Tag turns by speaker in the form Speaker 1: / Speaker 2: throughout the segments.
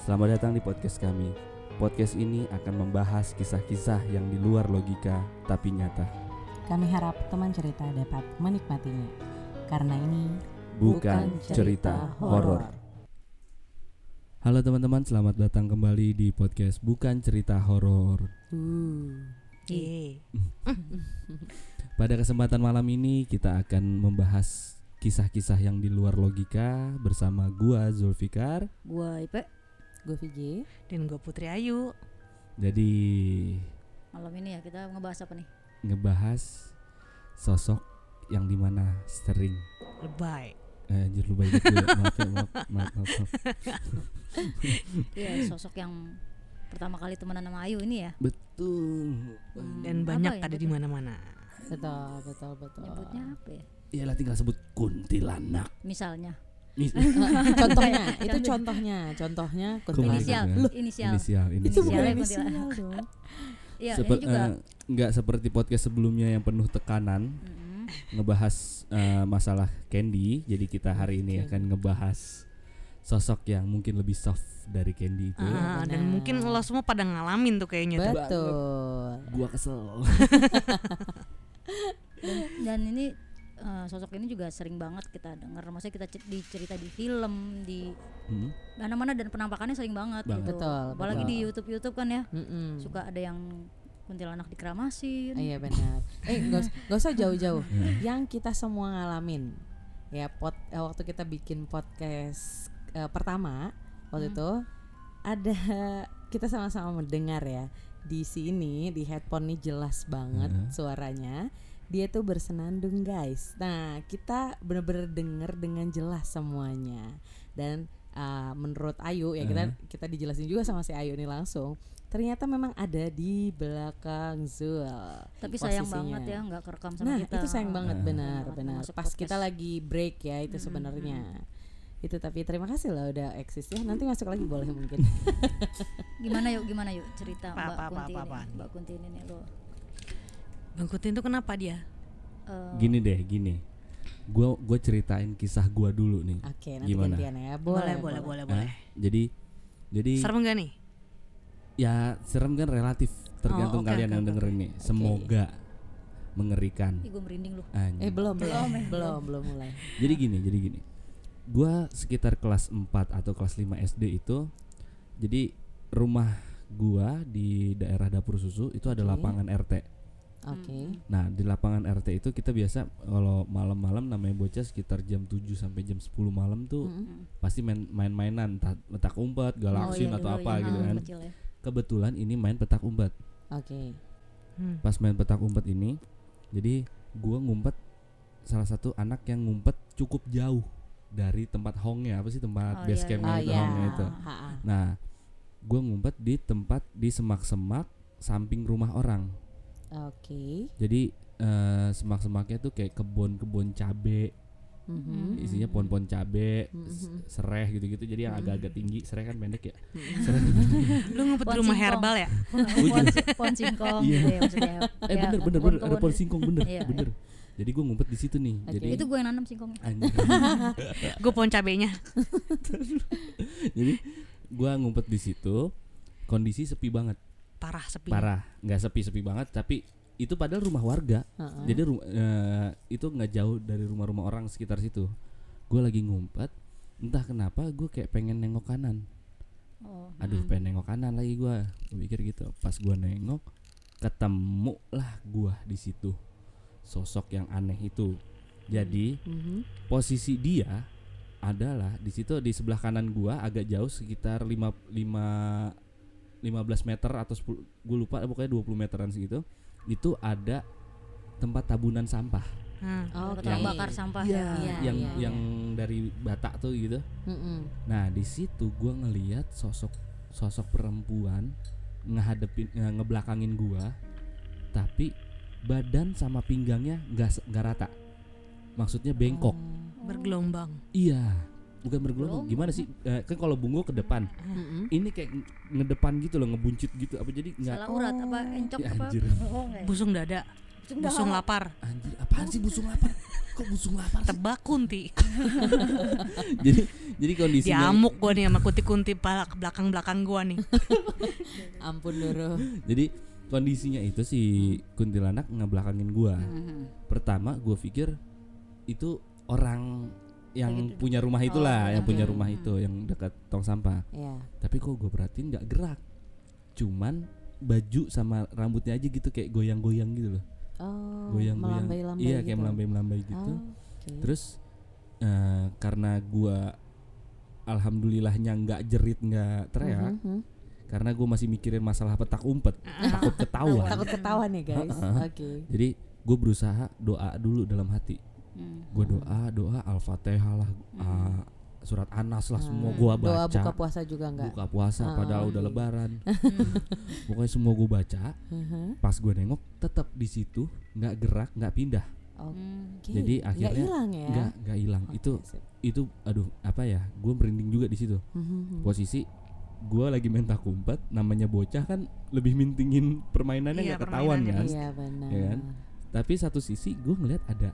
Speaker 1: Selamat datang di podcast kami. Podcast ini akan membahas kisah-kisah yang di luar logika tapi nyata.
Speaker 2: Kami harap teman cerita dapat menikmatinya. Karena ini
Speaker 1: Bukan, cerita horor. Halo teman-teman, selamat datang kembali di podcast Bukan Cerita Horor.
Speaker 2: Uh.
Speaker 3: Iya.
Speaker 1: Pada kesempatan malam ini kita akan membahas kisah-kisah yang di luar logika bersama gua Zulfikar.
Speaker 3: Gua Ipe
Speaker 2: gue VJ.
Speaker 4: Dan gue Putri Ayu
Speaker 1: Jadi
Speaker 3: malam ini ya kita ngebahas apa nih?
Speaker 1: ngebahas sosok yang dimana sering
Speaker 4: Lebay
Speaker 1: eh, anjir lu banyak gue. maaf ya maaf maaf, maaf, maaf.
Speaker 3: Iya sosok yang pertama kali temenan sama Ayu ini ya.
Speaker 1: betul
Speaker 3: Hmm,
Speaker 4: Dan
Speaker 3: apa
Speaker 4: banyak
Speaker 3: ya
Speaker 4: ada di
Speaker 3: nyebutnya?
Speaker 4: mana-mana
Speaker 2: Betul, betul, betul.
Speaker 3: Nyebutnya apa ya?
Speaker 1: iyalah tinggal sebut kuntilanak
Speaker 3: Misalnya
Speaker 1: Mis-
Speaker 2: Eh, contohnya, itu
Speaker 3: Contoh.
Speaker 2: contohnya, contohnya
Speaker 1: Kembali
Speaker 2: kuntilanak.
Speaker 3: inisial,
Speaker 1: ya.
Speaker 3: inisial.
Speaker 1: inisial
Speaker 2: Itu bukan
Speaker 3: Inisialnya
Speaker 2: inisial
Speaker 3: kuntilanak.
Speaker 2: dong.
Speaker 3: Iya, ini
Speaker 1: Seper-
Speaker 3: juga.
Speaker 1: eh, nggak seperti podcast sebelumnya yang penuh tekanan
Speaker 3: Mm-mm.
Speaker 1: ngebahas eh, masalah Candy jadi kita hari ini
Speaker 2: Oke.
Speaker 1: akan ngebahas sosok yang mungkin lebih soft dari Candy itu
Speaker 4: Ah,
Speaker 2: Iya,
Speaker 4: Dan
Speaker 2: benar.
Speaker 4: mungkin lo semua pada ngalamin tuh kayaknya tuh.
Speaker 2: Betul.
Speaker 1: gua kesel
Speaker 3: Dan, dan ini eh, sosok ini juga sering banget kita dengar. Maksudnya kita cer- dicerita di film, di
Speaker 1: Hmm,
Speaker 3: mana-mana dan penampakannya sering banget,
Speaker 1: Banget.
Speaker 3: gitu.
Speaker 2: Betul,
Speaker 3: Apalagi
Speaker 2: betul.
Speaker 3: di YouTube-YouTube kan ya.
Speaker 2: Mm-mm.
Speaker 3: Suka ada yang kuntilanak dikeramasin.
Speaker 2: Iya benar. Eh gak, us- gak usah jauh-jauh.
Speaker 1: Ya.
Speaker 2: Yang kita semua ngalamin ya pot eh, waktu kita bikin podcast eh, pertama waktu
Speaker 3: Hmm.
Speaker 2: itu ada kita sama-sama mendengar ya di sini di headphone nih jelas banget
Speaker 1: Hmm.
Speaker 2: suaranya. Dia tuh bersenandung guys. Nah kita bener-bener denger dengan jelas semuanya dan eh, menurut Ayu ya
Speaker 3: Hmm.
Speaker 2: kita kita dijelasin juga sama si Ayu nih langsung. Ternyata memang ada di belakang Zul.
Speaker 3: Tapi sayang
Speaker 2: posisinya.
Speaker 3: banget ya nggak kerekam sama
Speaker 2: Nah,
Speaker 3: kita.
Speaker 2: itu sayang banget
Speaker 1: Nah.
Speaker 2: benar,
Speaker 3: Banget
Speaker 2: benar.
Speaker 3: masuk
Speaker 2: Pas kita
Speaker 3: podcast.
Speaker 2: lagi break ya itu
Speaker 3: Mm-mm,
Speaker 2: sebenarnya. Itu tapi terima kasih loh udah eksis ya. Nanti masuk lagi boleh mungkin.
Speaker 3: Gimana yuk, gimana yuk cerita
Speaker 4: Apa,
Speaker 3: Mbak
Speaker 4: apa, apa,
Speaker 3: Kunti
Speaker 4: apa,
Speaker 3: ini,
Speaker 4: apaan?
Speaker 3: Mbak Kunti ini nih lo.
Speaker 4: Bang Kutin tuh kenapa dia?
Speaker 3: Eh,
Speaker 1: gini deh gini gua gua ceritain kisah gua dulu nih
Speaker 2: Oke, nanti
Speaker 1: Gimana?
Speaker 2: gantian ya.
Speaker 4: Boleh, boleh, boleh, boleh,
Speaker 1: Hah? jadi jadi
Speaker 4: Serem gak nih?
Speaker 1: ya serem kan relatif tergantung
Speaker 4: Oh, oke,
Speaker 1: kalian
Speaker 4: oke,
Speaker 1: yang
Speaker 4: oke.
Speaker 1: dengerin nih semoga mengerikan
Speaker 3: Ih, gue merinding lu.
Speaker 1: Anjing.
Speaker 2: Eh, belum, belum.
Speaker 3: Belum, eh,
Speaker 2: belum, belum mulai.
Speaker 1: jadi gini jadi gini gua sekitar kelas 4 atau kelas 5 SD itu jadi rumah gua di daerah dapur susu itu ada
Speaker 2: Oke.
Speaker 1: lapangan RT
Speaker 2: Oke.
Speaker 1: nah di lapangan RT itu kita biasa kalau malam-malam namanya bocah sekitar jam 7 sampai jam 10 malam tuh
Speaker 3: Hmm.
Speaker 2: Mm-mm.
Speaker 1: pasti main main-mainan entah petak umpet galaksin
Speaker 3: iya,
Speaker 1: atau
Speaker 3: dulu
Speaker 1: apa
Speaker 3: iya,
Speaker 1: gitu
Speaker 3: nah,
Speaker 1: kan
Speaker 3: kecil ya.
Speaker 1: kebetulan ini main petak umpet
Speaker 2: Oke.
Speaker 4: Hmm.
Speaker 1: pas main petak umpet ini jadi gua ngumpet salah satu anak yang ngumpet cukup jauh dari tempat hongnya apa sih tempat
Speaker 3: Oh,
Speaker 1: base
Speaker 3: iya,
Speaker 1: campnya
Speaker 2: Oh
Speaker 1: itu
Speaker 2: ya.
Speaker 1: hongnya itu
Speaker 2: Ha-ha.
Speaker 1: nah gua ngumpet di tempat di semak-semak samping rumah orang
Speaker 2: Oke.
Speaker 1: jadi eh, semak-semaknya tuh kayak kebun-kebun cabe
Speaker 2: Mhm.
Speaker 3: Hmm.
Speaker 1: isinya pohon-pohon cabe s-
Speaker 2: Mhm.
Speaker 1: sereh gitu-gitu jadi
Speaker 3: Hmm.
Speaker 1: yang agak-agak tinggi sereh kan pendek ya sereh
Speaker 4: Lu ngumpet di
Speaker 3: Pohon
Speaker 4: rumah
Speaker 3: singkong.
Speaker 4: herbal ya?
Speaker 3: Pohon, pohon singkong
Speaker 1: Iya.
Speaker 3: gitu ya maksudnya.
Speaker 1: eh
Speaker 3: Ya,
Speaker 1: bener bener
Speaker 3: pohon
Speaker 1: bener ada
Speaker 3: kebun.
Speaker 1: pohon singkong bener
Speaker 3: Iya,
Speaker 1: bener jadi gua ngumpet di situ nih
Speaker 2: Oke.
Speaker 1: jadi
Speaker 3: Itu gue yang nanam singkongnya.
Speaker 1: anjing.
Speaker 2: Iya.
Speaker 4: Gue pohon cabenya
Speaker 1: jadi gua ngumpet di situ kondisi sepi banget
Speaker 4: Parah sepi
Speaker 1: parah nggak sepi sepi banget tapi itu padahal rumah warga
Speaker 2: Ha-ha.
Speaker 1: jadi ru- eh, itu nggak jauh dari rumah-rumah orang sekitar situ gua lagi ngumpet entah kenapa gue kayak pengen nengok kanan
Speaker 3: Oh,
Speaker 1: aduh
Speaker 3: mm.
Speaker 1: pengen nengok kanan lagi gua Gua mikir gitu pas gua nengok ketemu lah gua di situ sosok yang aneh itu jadi
Speaker 2: Mhm.
Speaker 1: posisi dia adalah di situ di sebelah kanan gua agak jauh sekitar 5 5 15 meter atau 10 gua lupa pokoknya 20 meteran segitu itu ada tempat tabunan sampah
Speaker 4: Hmm.
Speaker 2: Oke.
Speaker 3: Tukang bakar sampah ya.
Speaker 2: Iya,
Speaker 1: yang
Speaker 2: iya,
Speaker 1: yang dari batak tuh gitu.
Speaker 2: Mhm.
Speaker 1: Nah, di situ gua ngeliat sosok sosok perempuan ngehadepin eh, ngebelakangin gua tapi badan sama pinggangnya nggak se- nggak rata. Maksudnya bengkok.
Speaker 4: Bergelombang
Speaker 1: Iya, bukan bergelombang.
Speaker 3: Belum.
Speaker 1: Gimana sih? Eh, kan kalau bungo ke depan,
Speaker 3: Ah.
Speaker 2: Mhm.
Speaker 1: ini kayak nge- ngedepan gitu loh, ngebuncit gitu. Apa jadi nggak?
Speaker 3: Salah urat apa encok
Speaker 1: Ya,
Speaker 3: apa?
Speaker 1: anjir.
Speaker 3: Oh, enggak ya.
Speaker 4: Eh. Busung dada
Speaker 3: Sunda.
Speaker 4: busung lapar
Speaker 1: Anjir, apaan sih busung lapar? Kok busung lapar? sih?
Speaker 4: tebak kunti
Speaker 1: jadi jadi kondisinya
Speaker 4: diamuk gua nih sama kunti kunti pala ke belakang belakang gua nih
Speaker 2: Ampun Doro.
Speaker 1: jadi kondisinya itu si kuntilanak ngebelakangin gua.
Speaker 3: Mhm.
Speaker 1: Pertama gua pikir itu orang yang
Speaker 3: Yang itu-
Speaker 1: punya rumah itulah,
Speaker 3: Oh,
Speaker 1: yang punya
Speaker 2: mhm.
Speaker 1: rumah itu yang dekat tong sampah.
Speaker 2: Ya.
Speaker 1: Tapi kok gue perhatiin nggak gerak. Cuman baju sama rambutnya aja gitu kayak goyang-goyang gitu loh.
Speaker 2: Oh,
Speaker 1: Goyang-goyang.
Speaker 2: melambai-lambai
Speaker 1: Iya,
Speaker 2: gitu.
Speaker 1: kayak melambai-melambai gitu.
Speaker 2: Oh, oke.
Speaker 1: Terus eh, karena gua alhamdulillahnya nggak jerit nggak teriak
Speaker 2: Mhm, mhm.
Speaker 1: karena gue masih mikirin masalah petak umpet takut ketahuan
Speaker 2: Ah. Takut ketahuan ya, guys.
Speaker 1: Ha-ha.
Speaker 2: Oke.
Speaker 1: jadi gue berusaha doa dulu dalam hati
Speaker 3: Hmm.
Speaker 2: Mm.
Speaker 1: gue doa doa al-fatihah lah ah, surat anas lah semua gue baca
Speaker 2: Ah. Doa buka puasa juga enggak?
Speaker 1: buka puasa
Speaker 2: Ah, Mm.
Speaker 1: padahal
Speaker 2: oke.
Speaker 1: udah lebaran pokoknya semua gue baca
Speaker 2: Mhm.
Speaker 1: pas gue nengok tetap di situ nggak gerak nggak pindah
Speaker 2: Oke.
Speaker 3: Hmm.
Speaker 1: Jadi
Speaker 2: Nggak
Speaker 1: akhirnya
Speaker 2: hilang ya.
Speaker 1: nggak nggak hilang
Speaker 2: Oke,
Speaker 1: itu
Speaker 2: sip.
Speaker 1: itu aduh apa ya gue merinding juga di situ
Speaker 3: Mm-hmm.
Speaker 2: Mhm.
Speaker 1: posisi gue lagi main takumpet namanya bocah kan lebih mintingin permainannya
Speaker 4: Iya,
Speaker 1: nggak ketahuan kan
Speaker 4: permainannya
Speaker 2: Iya benar.
Speaker 1: Ya kan? tapi satu sisi gue ngeliat ada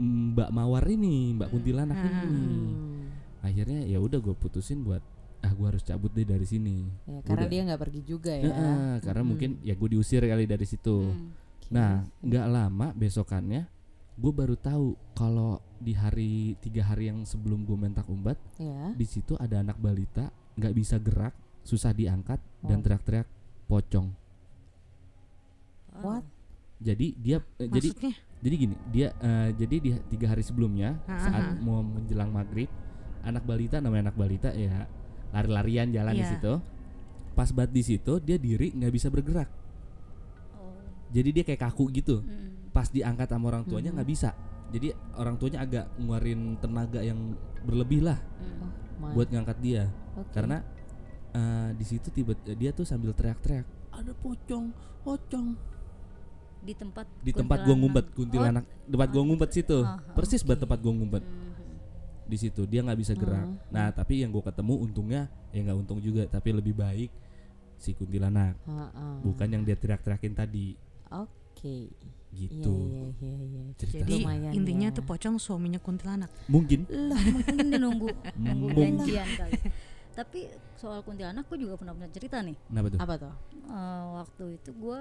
Speaker 1: Mbak Mawar ini Mbak Kuntilanak ini
Speaker 3: Mm-hmm.
Speaker 2: Hmm.
Speaker 1: akhirnya ya udah gue putusin buat ah gue harus cabut deh dari sini
Speaker 2: Ya, karena
Speaker 1: Udah.
Speaker 2: dia nggak pergi juga ya.
Speaker 1: Heeh, karena mungkin ya gue diusir kali dari situ
Speaker 3: Hmm.
Speaker 2: Oke.
Speaker 1: nah nggak lama besokannya gue baru tahu kalau di hari tiga hari yang sebelum gue mentak umbat
Speaker 2: ya.
Speaker 1: di situ ada anak balita nggak bisa gerak susah diangkat dan
Speaker 2: Oh.
Speaker 1: teriak-teriak pocong Ah.
Speaker 2: What?
Speaker 1: jadi dia eh, jadi
Speaker 4: maksudnya
Speaker 1: jadi gini dia eh, jadi di tiga hari sebelumnya saat
Speaker 4: Ah, ah.
Speaker 1: mau menjelang maghrib anak balita namanya anak balita ya lari-larian jalan di
Speaker 4: Iya.
Speaker 1: situ pas bat di situ dia diri nggak bisa bergerak
Speaker 3: Oh. hmm,
Speaker 1: jadi dia kayak kaku gitu
Speaker 3: Mm-mm.
Speaker 1: pas diangkat sama orang tuanya
Speaker 2: Mhm.
Speaker 1: nggak bisa jadi orang tuanya agak nguarin tenaga yang berlebih lah
Speaker 3: Mm.
Speaker 2: Oh, my.
Speaker 1: buat ngangkat dia
Speaker 2: Oke.
Speaker 1: karena eh, di situ tiba dia tuh sambil teriak-teriak ada pocong pocong
Speaker 3: Di tempat
Speaker 1: di tempat gua ngumpet
Speaker 3: kuntilanak. Oh.
Speaker 1: kuntilanak tempat gua ngumpet situ
Speaker 3: Ah,
Speaker 1: persis buat
Speaker 2: oke.
Speaker 1: tempat gua
Speaker 3: Oh.
Speaker 1: ngumpet
Speaker 3: Mhm.
Speaker 1: di situ dia nggak bisa gerak
Speaker 2: Ah.
Speaker 1: nah tapi yang gua ketemu untungnya ya nggak untung juga tapi lebih baik si kuntilanak
Speaker 2: Ha-ha.
Speaker 1: bukan yang dia teriak-teriakin tadi
Speaker 2: Oke. Iya
Speaker 1: gitu
Speaker 2: iya iya iya.
Speaker 1: cerita
Speaker 4: jadi
Speaker 2: Lumayan
Speaker 4: intinya
Speaker 2: ya.
Speaker 4: tuh pocong suaminya kuntilanak
Speaker 1: mungkin
Speaker 3: mungkin dia nunggu nunggu
Speaker 1: Mungkin.
Speaker 3: janjian kali tapi soal kuntilanak gue juga pernah punya cerita nih
Speaker 1: kenapa tuh
Speaker 2: Apa tuh?
Speaker 3: Eh, waktu itu gue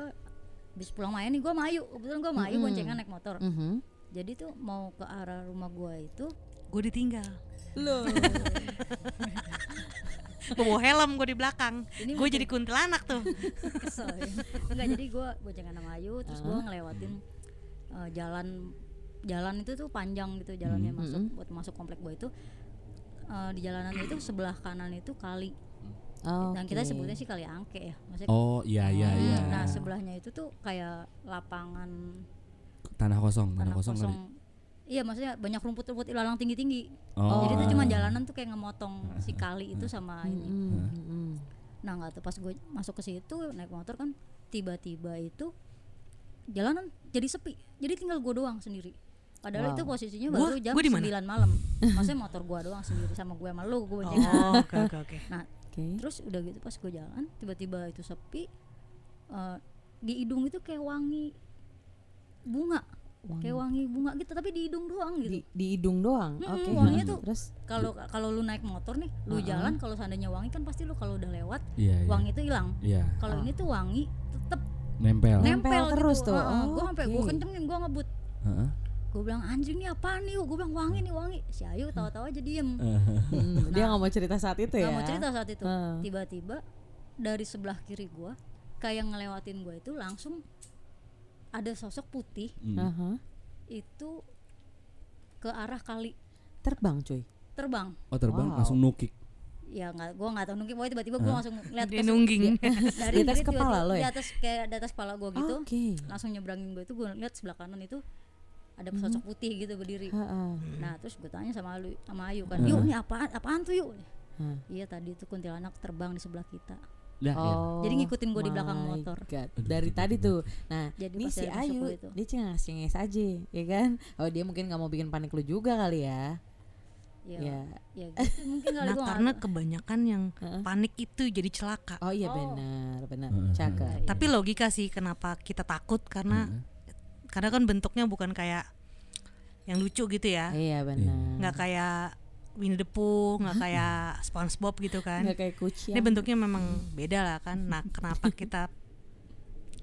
Speaker 3: habis pulang main nih gue mayu kebetulan gue mayu
Speaker 2: Mm-mm.
Speaker 3: boncengan naik motor
Speaker 2: Mhm.
Speaker 3: jadi tuh mau ke arah rumah gue itu
Speaker 4: gue ditinggal
Speaker 2: Loh.
Speaker 4: Gua bawa helm gue di belakang
Speaker 3: ini
Speaker 4: gue jadi kuntilanak tuh
Speaker 3: kesel ya. enggak jadi gue boncengan sama Ayu terus gue ngelewatin eh, jalan jalan itu tuh panjang gitu jalannya
Speaker 2: Mm-mm.
Speaker 3: masuk buat masuk komplek gue itu eh, di jalanan itu sebelah kanan itu kali dan kita
Speaker 2: Oke.
Speaker 3: sebutnya sih kali angke ya maksudnya
Speaker 1: oh iya iya iya
Speaker 3: Nah sebelahnya itu tuh kayak lapangan
Speaker 1: tanah kosong tanah
Speaker 3: tanah
Speaker 1: kosong
Speaker 3: kosong.
Speaker 1: kali
Speaker 3: Iya maksudnya banyak rumput-rumput ilalang tinggi-tinggi.
Speaker 1: oh
Speaker 3: Jadi itu
Speaker 1: ah.
Speaker 3: cuma jalanan tuh kayak ngemotong si
Speaker 4: Hmm.
Speaker 3: kali itu sama ini.
Speaker 2: Mm-mm, mm-mm.
Speaker 3: Nah nggak tuh pas gue masuk ke situ naik motor kan tiba-tiba itu jalanan jadi sepi. Jadi tinggal gue doang sendiri. Padahal
Speaker 2: Wow.
Speaker 3: itu posisinya
Speaker 4: Gua?
Speaker 3: baru jam
Speaker 4: Gua di mana?
Speaker 3: 9 malam. Maksudnya motor gue doang sendiri sama gue sama lu gue boncengan.
Speaker 4: oh oke oke oke
Speaker 2: Oke.
Speaker 3: Terus udah gitu pas gue jalan tiba-tiba itu sepi. Eh, di hidung itu kayak wangi bunga kayak wangi bunga gitu tapi di hidung doang
Speaker 2: Di,
Speaker 3: gitu
Speaker 2: di hidung doang.
Speaker 3: Mm-mm,
Speaker 2: Oke.
Speaker 3: wanginya tuh-
Speaker 2: Terus
Speaker 3: kalau kalau lu naik motor nih lu
Speaker 2: Uh-uh.
Speaker 3: jalan kalau seandainya wangi kan pasti lu kalau udah lewat
Speaker 1: iya iya.
Speaker 3: wangi itu hilang
Speaker 1: iya
Speaker 3: kalau
Speaker 2: Ah.
Speaker 3: ini tuh wangi tetep
Speaker 1: nempel
Speaker 2: Nempel
Speaker 3: nempel
Speaker 2: terus
Speaker 3: gitu.
Speaker 2: tuh.
Speaker 3: Heeh,
Speaker 2: Oh,
Speaker 3: gua sampai
Speaker 2: oke.
Speaker 3: gua kencengin gua ngebut
Speaker 1: Heeh.
Speaker 3: gua bilang anjing nih apaan nih gua bilang wangi nih wangi si Ayu
Speaker 2: Hmm.
Speaker 3: tahu-tahu aja diem
Speaker 2: mm, dia nggak mau cerita saat itu
Speaker 3: Nah, nggak
Speaker 2: ya.
Speaker 3: mau cerita saat itu
Speaker 2: Heeh.
Speaker 3: tiba-tiba dari sebelah kiri gua kayak ngelewatin gua itu langsung ada sosok putih
Speaker 1: Mm.
Speaker 2: Aha.
Speaker 3: itu ke arah kali
Speaker 2: Terbang cuy.
Speaker 3: terbang
Speaker 1: oh terbang
Speaker 2: Wow.
Speaker 1: langsung nukik
Speaker 3: ya nggak gua nggak tahu mungkin pokoknya tiba-tiba gua langsung lihat
Speaker 4: dia nungging
Speaker 2: Di
Speaker 3: dari
Speaker 2: atas
Speaker 3: kiri
Speaker 2: kepala
Speaker 3: tiba-tiba
Speaker 2: lo ya? Ah.
Speaker 3: di atas kayak di atas kepala gue gitu
Speaker 2: Oke.
Speaker 3: langsung nyebrangin gue itu gue lihat sebelah kanan itu ada
Speaker 2: Mhm.
Speaker 3: sosok putih gitu berdiri
Speaker 2: Ha-ha.
Speaker 3: nah terus gue tanya sama lu sama Ayu kan
Speaker 1: Hmm.
Speaker 3: yuk ini apaan apaan tuh yuk
Speaker 2: Hmm.
Speaker 3: iya tadi itu kuntilanak terbang di sebelah kita
Speaker 1: Lah, ya.
Speaker 2: Oh,
Speaker 3: Jadi ngikutin gua di belakang
Speaker 2: my
Speaker 3: motor.
Speaker 2: God.
Speaker 1: Aduh, aduh,
Speaker 2: Dari tadi
Speaker 1: aduh.
Speaker 2: tuh. Nah,
Speaker 3: Jadi
Speaker 2: ini
Speaker 3: pas
Speaker 2: si
Speaker 3: dari tusuk
Speaker 2: Ayu
Speaker 3: gua itu.
Speaker 2: dia cengas-cengas aja, ya kan? Oh, dia mungkin nggak mau bikin panik lu juga kali ya.
Speaker 3: ya ya,
Speaker 2: Ya.
Speaker 3: gitu. mungkin kali
Speaker 4: nah
Speaker 3: gue
Speaker 4: karena kebanyakan yang
Speaker 2: Heeh.
Speaker 4: panik itu jadi celaka
Speaker 2: Oh iya
Speaker 3: Oh. Iya.
Speaker 2: benar, benar.
Speaker 1: Heeh,
Speaker 2: Cakep. Iya,
Speaker 3: heeh.
Speaker 4: tapi logika sih kenapa kita takut karena karena kan bentuknya bukan kayak yang lucu gitu ya
Speaker 2: Iya benar.
Speaker 4: nggak kayak Winnie the Pooh nggak kayak SpongeBob gitu kan
Speaker 2: Nggak kayak kucing.
Speaker 4: ini bentuknya memang beda lah kan nah kenapa kita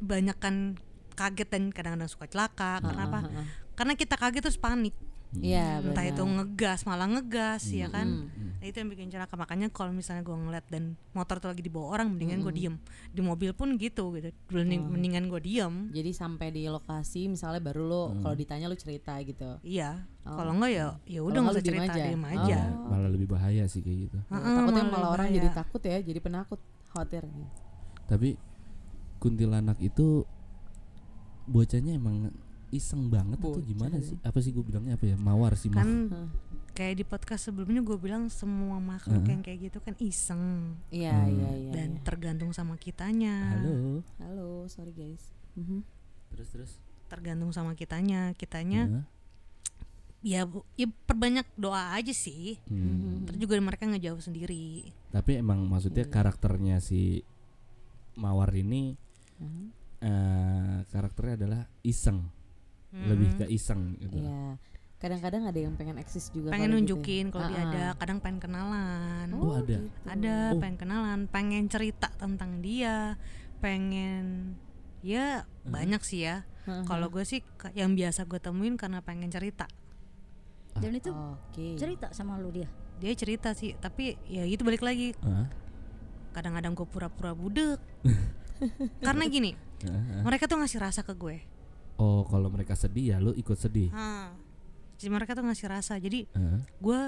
Speaker 4: banyak kan kaget dan kadang-kadang suka
Speaker 2: Ah,
Speaker 4: celaka kenapa
Speaker 2: ah, ah.
Speaker 4: karena kita kaget terus panik
Speaker 2: Iya
Speaker 4: Hmm. entah
Speaker 2: benar.
Speaker 4: itu ngegas malah ngegas ya kan
Speaker 2: Mm.
Speaker 4: Nah, itu yang bikin celaka makanya kalau misalnya gue ngeliat dan motor tuh lagi dibawa orang mendingan
Speaker 2: Mm.
Speaker 4: gue diem di mobil pun gitu gitu
Speaker 2: Oh.
Speaker 4: Mending- mendingan gue diem
Speaker 2: Jadi sampai di lokasi misalnya baru lo
Speaker 4: Hmm.
Speaker 2: kalau ditanya lo cerita gitu.
Speaker 4: iya
Speaker 2: Oh.
Speaker 4: kalau enggak ya ya udah
Speaker 2: Kalau nggak
Speaker 4: nggak
Speaker 2: lu
Speaker 4: usah
Speaker 2: diem
Speaker 4: cerita
Speaker 2: aja.
Speaker 4: diem
Speaker 2: Oh.
Speaker 4: aja
Speaker 2: Oh.
Speaker 1: iya. malah lebih bahaya sih kayak gitu
Speaker 4: Heeh,
Speaker 2: Takutnya malah,
Speaker 4: lebih
Speaker 2: orang
Speaker 4: bahaya.
Speaker 2: jadi takut ya, jadi penakut, khawatir.
Speaker 4: Hmm.
Speaker 1: tapi kuntilanak itu bocahnya emang iseng banget atau gimana sih apa sih gue bilangnya apa ya mawar sih
Speaker 4: kan
Speaker 1: mawar.
Speaker 2: Heeh.
Speaker 4: kayak di podcast sebelumnya gue bilang semua makhluk
Speaker 1: Heeh.
Speaker 4: yang kayak gitu kan iseng
Speaker 2: Iya iya iya.
Speaker 4: dan
Speaker 2: iya.
Speaker 4: tergantung sama kitanya
Speaker 1: halo
Speaker 2: Halo, sorry guys. Mhm.
Speaker 1: terus terus
Speaker 4: tergantung sama kitanya kitanya
Speaker 1: Ya.
Speaker 2: Iya.
Speaker 4: ya, bu- ya perbanyak doa aja sih
Speaker 1: Hmm.
Speaker 2: Mhm.
Speaker 4: terus juga mereka ngejauh sendiri
Speaker 1: tapi emang maksudnya
Speaker 2: Iya.
Speaker 1: karakternya si mawar ini
Speaker 2: Mhm.
Speaker 1: eh karakternya adalah iseng lebih
Speaker 4: Mm.
Speaker 1: ke iseng gitu
Speaker 2: Mm-hmm. Iya. Kadang-kadang ada yang pengen eksis juga.
Speaker 4: pengen
Speaker 2: kalau gitu ya.
Speaker 4: nunjukin kalau dia
Speaker 2: Ah-ah.
Speaker 4: ada kadang pengen kenalan
Speaker 1: Oh, ada.
Speaker 2: gitu.
Speaker 4: ada
Speaker 1: Oh.
Speaker 4: pengen kenalan pengen cerita tentang dia pengen ya banyak sih ya
Speaker 2: Heeh.
Speaker 4: kalau gue sih ke- yang biasa gue temuin karena pengen cerita
Speaker 3: dan itu
Speaker 2: Oke.
Speaker 3: cerita sama lu dia
Speaker 4: dia cerita sih tapi ya itu balik lagi
Speaker 1: Heeh,
Speaker 4: kadang-kadang gue pura-pura budek karena gini
Speaker 1: heeh, heeh.
Speaker 4: mereka tuh ngasih rasa ke gue
Speaker 1: oh kalau mereka sedih ya lu ikut sedih
Speaker 4: Ah. jadi mereka tuh ngasih rasa jadi
Speaker 1: Heeh.
Speaker 4: gue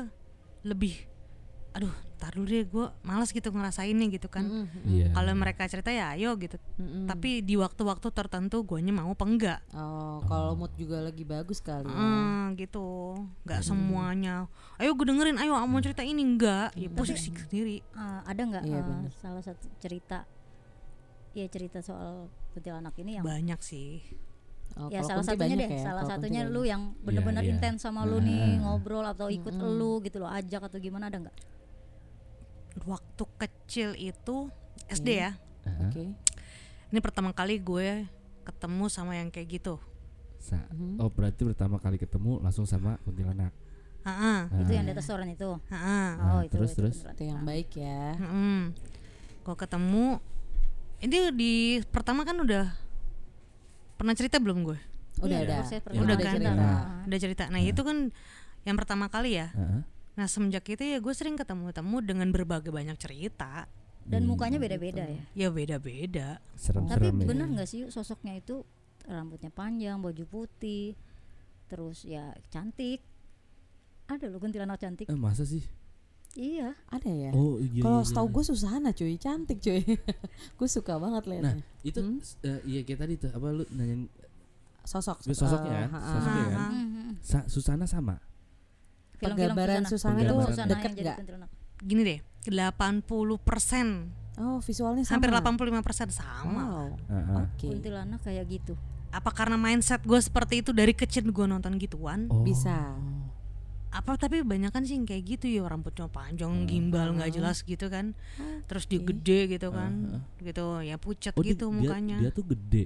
Speaker 4: lebih aduh tar dulu deh gue malas gitu ngerasainnya gitu kan
Speaker 2: Mm-mm.
Speaker 1: iya
Speaker 4: kalau mereka cerita ya ayo gitu
Speaker 2: Mm-mm.
Speaker 4: tapi di waktu-waktu tertentu guanya mau apa enggak
Speaker 2: Oh, kalau mood juga lagi bagus kali ya.
Speaker 4: Eh, gitu nggak semuanya ayo gue dengerin ayo ah, mau cerita ini enggak ya posisi sendiri
Speaker 3: Eh, ada nggak
Speaker 2: Iya,
Speaker 3: eh,
Speaker 2: bener.
Speaker 3: salah satu cerita ya cerita soal kuntilanak ini yang
Speaker 4: banyak sih
Speaker 2: Oh,
Speaker 3: ya
Speaker 2: kalau
Speaker 3: salah
Speaker 2: kunti
Speaker 3: satunya
Speaker 2: banyak
Speaker 3: deh
Speaker 2: ya,
Speaker 3: salah
Speaker 2: kalau
Speaker 3: satunya
Speaker 2: kunti
Speaker 3: lu
Speaker 2: banyak. Nah.
Speaker 3: yang bener-bener
Speaker 1: iya.
Speaker 3: intens sama lu nih
Speaker 1: Ah.
Speaker 3: ngobrol atau ikut lu gitu loh ajak atau gimana ada nggak
Speaker 4: waktu kecil itu SD ya
Speaker 1: Heeh.
Speaker 2: Oke.
Speaker 4: ini pertama kali gue ketemu sama yang kayak gitu
Speaker 1: Sa- oh berarti pertama kali ketemu langsung sama kuntilanak
Speaker 4: Heeh,
Speaker 2: Nah.
Speaker 3: itu yang di atas orang itu
Speaker 4: heeh.
Speaker 1: Nah, terus, terus.
Speaker 3: beneran.
Speaker 2: Itu yang baik ya.
Speaker 4: Mm. Gua ketemu ini di pertama kan udah pernah cerita belum gue?
Speaker 2: Udah Iya,
Speaker 3: Iya,
Speaker 2: ada.
Speaker 3: proses
Speaker 1: Udah
Speaker 3: perkenalan
Speaker 1: kan?
Speaker 3: kita.
Speaker 1: Nah.
Speaker 3: Ah.
Speaker 4: Udah cerita. Nah, itu kan yang pertama kali ya.
Speaker 1: Heeh.
Speaker 4: Nah, semenjak itu ya gue sering ketemu-temu dengan berbagai banyak cerita.
Speaker 3: dan mukanya beda-beda ya
Speaker 4: Ya beda-beda.
Speaker 3: tapi
Speaker 1: serem-serem ya.
Speaker 3: bener nggak sih sosoknya itu rambutnya panjang baju putih terus ya cantik ada loh kuntilanak cantik
Speaker 1: eh masa sih
Speaker 3: iya
Speaker 2: Ada ya.
Speaker 1: oh iya
Speaker 2: kalau
Speaker 1: iya,
Speaker 2: setahu
Speaker 1: iya.
Speaker 2: gue Susana cuy, cantik cuy. gue suka banget
Speaker 1: nah
Speaker 2: liatnya.
Speaker 1: itu s- eh, iya kayak tadi tuh apa lu nanyain
Speaker 2: sosok
Speaker 1: sosoknya
Speaker 2: eh,
Speaker 1: ya
Speaker 2: ha-ha.
Speaker 1: sosoknya kan
Speaker 4: Ah.
Speaker 3: Mhm.
Speaker 1: Sa- Susana sama
Speaker 3: Film-film
Speaker 2: Penggambaran Susana
Speaker 1: itu
Speaker 3: Film Susana
Speaker 2: deket
Speaker 3: yang jadi
Speaker 2: nggak?
Speaker 3: kuntilanak.
Speaker 4: Gini deh, 80%
Speaker 2: Oh, visualnya sama. Oh.
Speaker 4: hampir 85% sama.
Speaker 2: Wow.
Speaker 1: Heeh.
Speaker 2: Oke.
Speaker 3: kuntilanak kayak gitu
Speaker 4: Apa karena mindset gue seperti itu dari kecil gue nonton gituan?
Speaker 1: oh
Speaker 2: Bisa.
Speaker 4: Apa tapi banyak kan sih yang kayak gitu ya rambutnya
Speaker 1: Hmm.
Speaker 4: panjang, gimbal nggak jelas gitu kan. Terus dia gede gitu kan. Gitu ya pucat
Speaker 1: Oh, dia-
Speaker 4: gitu
Speaker 1: dia,
Speaker 4: mukanya.
Speaker 1: dia tuh gede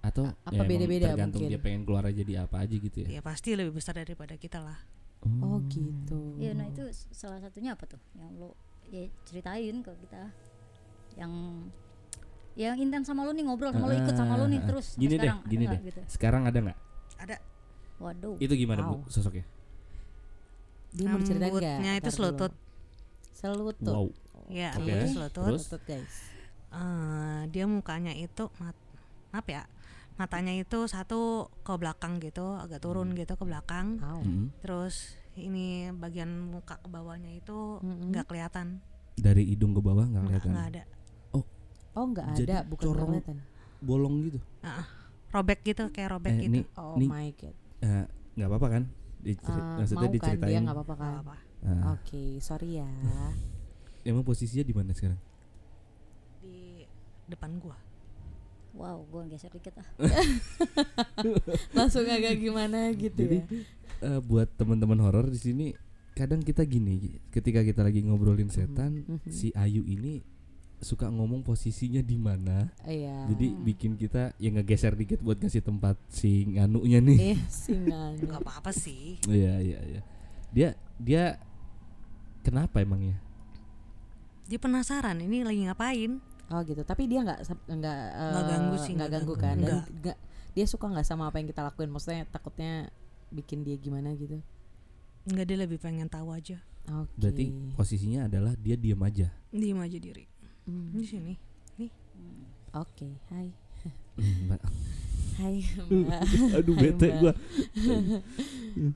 Speaker 1: atau ya,
Speaker 2: apa
Speaker 1: emang
Speaker 2: beda-beda
Speaker 1: tergantung
Speaker 2: mungkin?
Speaker 1: dia pengen keluar jadi apa aja gitu ya
Speaker 4: ya pasti lebih besar daripada kita lah
Speaker 2: Oh, gitu.
Speaker 3: Iya,
Speaker 1: Hmm.
Speaker 3: nah itu s- salah satunya apa tuh yang lo ya ceritain ke kita yang yang intens sama lo nih ngobrol sama lo ikut sama lo nih
Speaker 1: Ah,
Speaker 3: terus
Speaker 1: gini
Speaker 3: sampai
Speaker 1: deh
Speaker 3: sekarang ada
Speaker 1: gini
Speaker 3: nggak
Speaker 1: deh
Speaker 3: gitu
Speaker 1: sekarang ada nggak
Speaker 4: ada
Speaker 3: waduh
Speaker 1: itu gimana bu
Speaker 2: Wow.
Speaker 1: sosoknya
Speaker 2: Dia mau diceritain enggak?
Speaker 4: rambutnya itu selutut
Speaker 2: Selutut.
Speaker 1: wow
Speaker 4: ya
Speaker 1: Oh, Oke.
Speaker 4: rambutnya selutut
Speaker 1: Terus?
Speaker 2: Selutut, guys.
Speaker 4: Eh, dia mukanya itu mat maaf ya matanya itu satu ke belakang gitu agak turun
Speaker 1: Hmm.
Speaker 4: gitu ke belakang
Speaker 2: Wow.
Speaker 1: Mm.
Speaker 4: terus ini bagian muka ke bawahnya itu
Speaker 2: Mm-mm.
Speaker 4: nggak kelihatan
Speaker 1: dari hidung ke bawah Hmm. nggak
Speaker 4: nggak
Speaker 1: kelihatan
Speaker 4: nggak ada
Speaker 2: Oh, enggak
Speaker 1: Jadi
Speaker 2: ada, bukan
Speaker 1: corong.
Speaker 2: kelihatan.
Speaker 1: bolong gitu
Speaker 4: Ah, ah. robek gitu kayak robek
Speaker 1: eh, ini
Speaker 4: gitu
Speaker 2: Oh
Speaker 1: ini
Speaker 2: my god.
Speaker 1: eh, nggak apa-apa kan Diceri-
Speaker 2: Eh,
Speaker 1: maksudnya
Speaker 2: mau kan
Speaker 1: diceritain
Speaker 2: dia nggak apa-apa
Speaker 4: Nggak
Speaker 2: kan?
Speaker 4: apa
Speaker 1: Ah,
Speaker 2: Oke, sorry ya.
Speaker 1: emang posisinya di mana sekarang
Speaker 2: Iya.
Speaker 4: di depan gua
Speaker 3: wow gue geser dikit ah
Speaker 2: Langsung agak gimana gitu
Speaker 1: Jadi,
Speaker 2: ya.
Speaker 1: eh, buat teman-teman horor di
Speaker 2: Mhm.
Speaker 1: sini kadang kita gini ketika kita lagi ngobrolin setan si Ayu ini suka ngomong posisinya di mana.
Speaker 2: Iya.
Speaker 1: Jadi bikin kita ya ngegeser dikit buat ngasih tempat si nganunya nih.
Speaker 2: eh singanya.
Speaker 4: nggak apa-apa sih
Speaker 1: Iya iya iya. Dia dia kenapa ya? emangnya?
Speaker 4: dia penasaran ini lagi ngapain
Speaker 2: Oh gitu. Tapi dia nggak sep- nggak eh,
Speaker 4: Nggak ganggu sih,
Speaker 2: nggak
Speaker 4: nggak
Speaker 2: ganggu
Speaker 4: ganggu.
Speaker 2: kan? Dan
Speaker 4: Nggak.
Speaker 2: nggak- dia suka nggak sama apa yang kita lakuin? Maksudnya takutnya bikin dia gimana gitu?
Speaker 4: nggak dia lebih pengen tahu aja
Speaker 2: Oke.
Speaker 1: Berarti posisinya adalah dia diam aja.
Speaker 4: diem aja diri
Speaker 2: Hmm,
Speaker 4: di sini
Speaker 2: Oke. Hai.
Speaker 1: Hmm, Mbak.
Speaker 2: Hai. Mbak.
Speaker 1: Aduh
Speaker 2: Hai,
Speaker 1: bete
Speaker 2: Mbak.
Speaker 1: gua.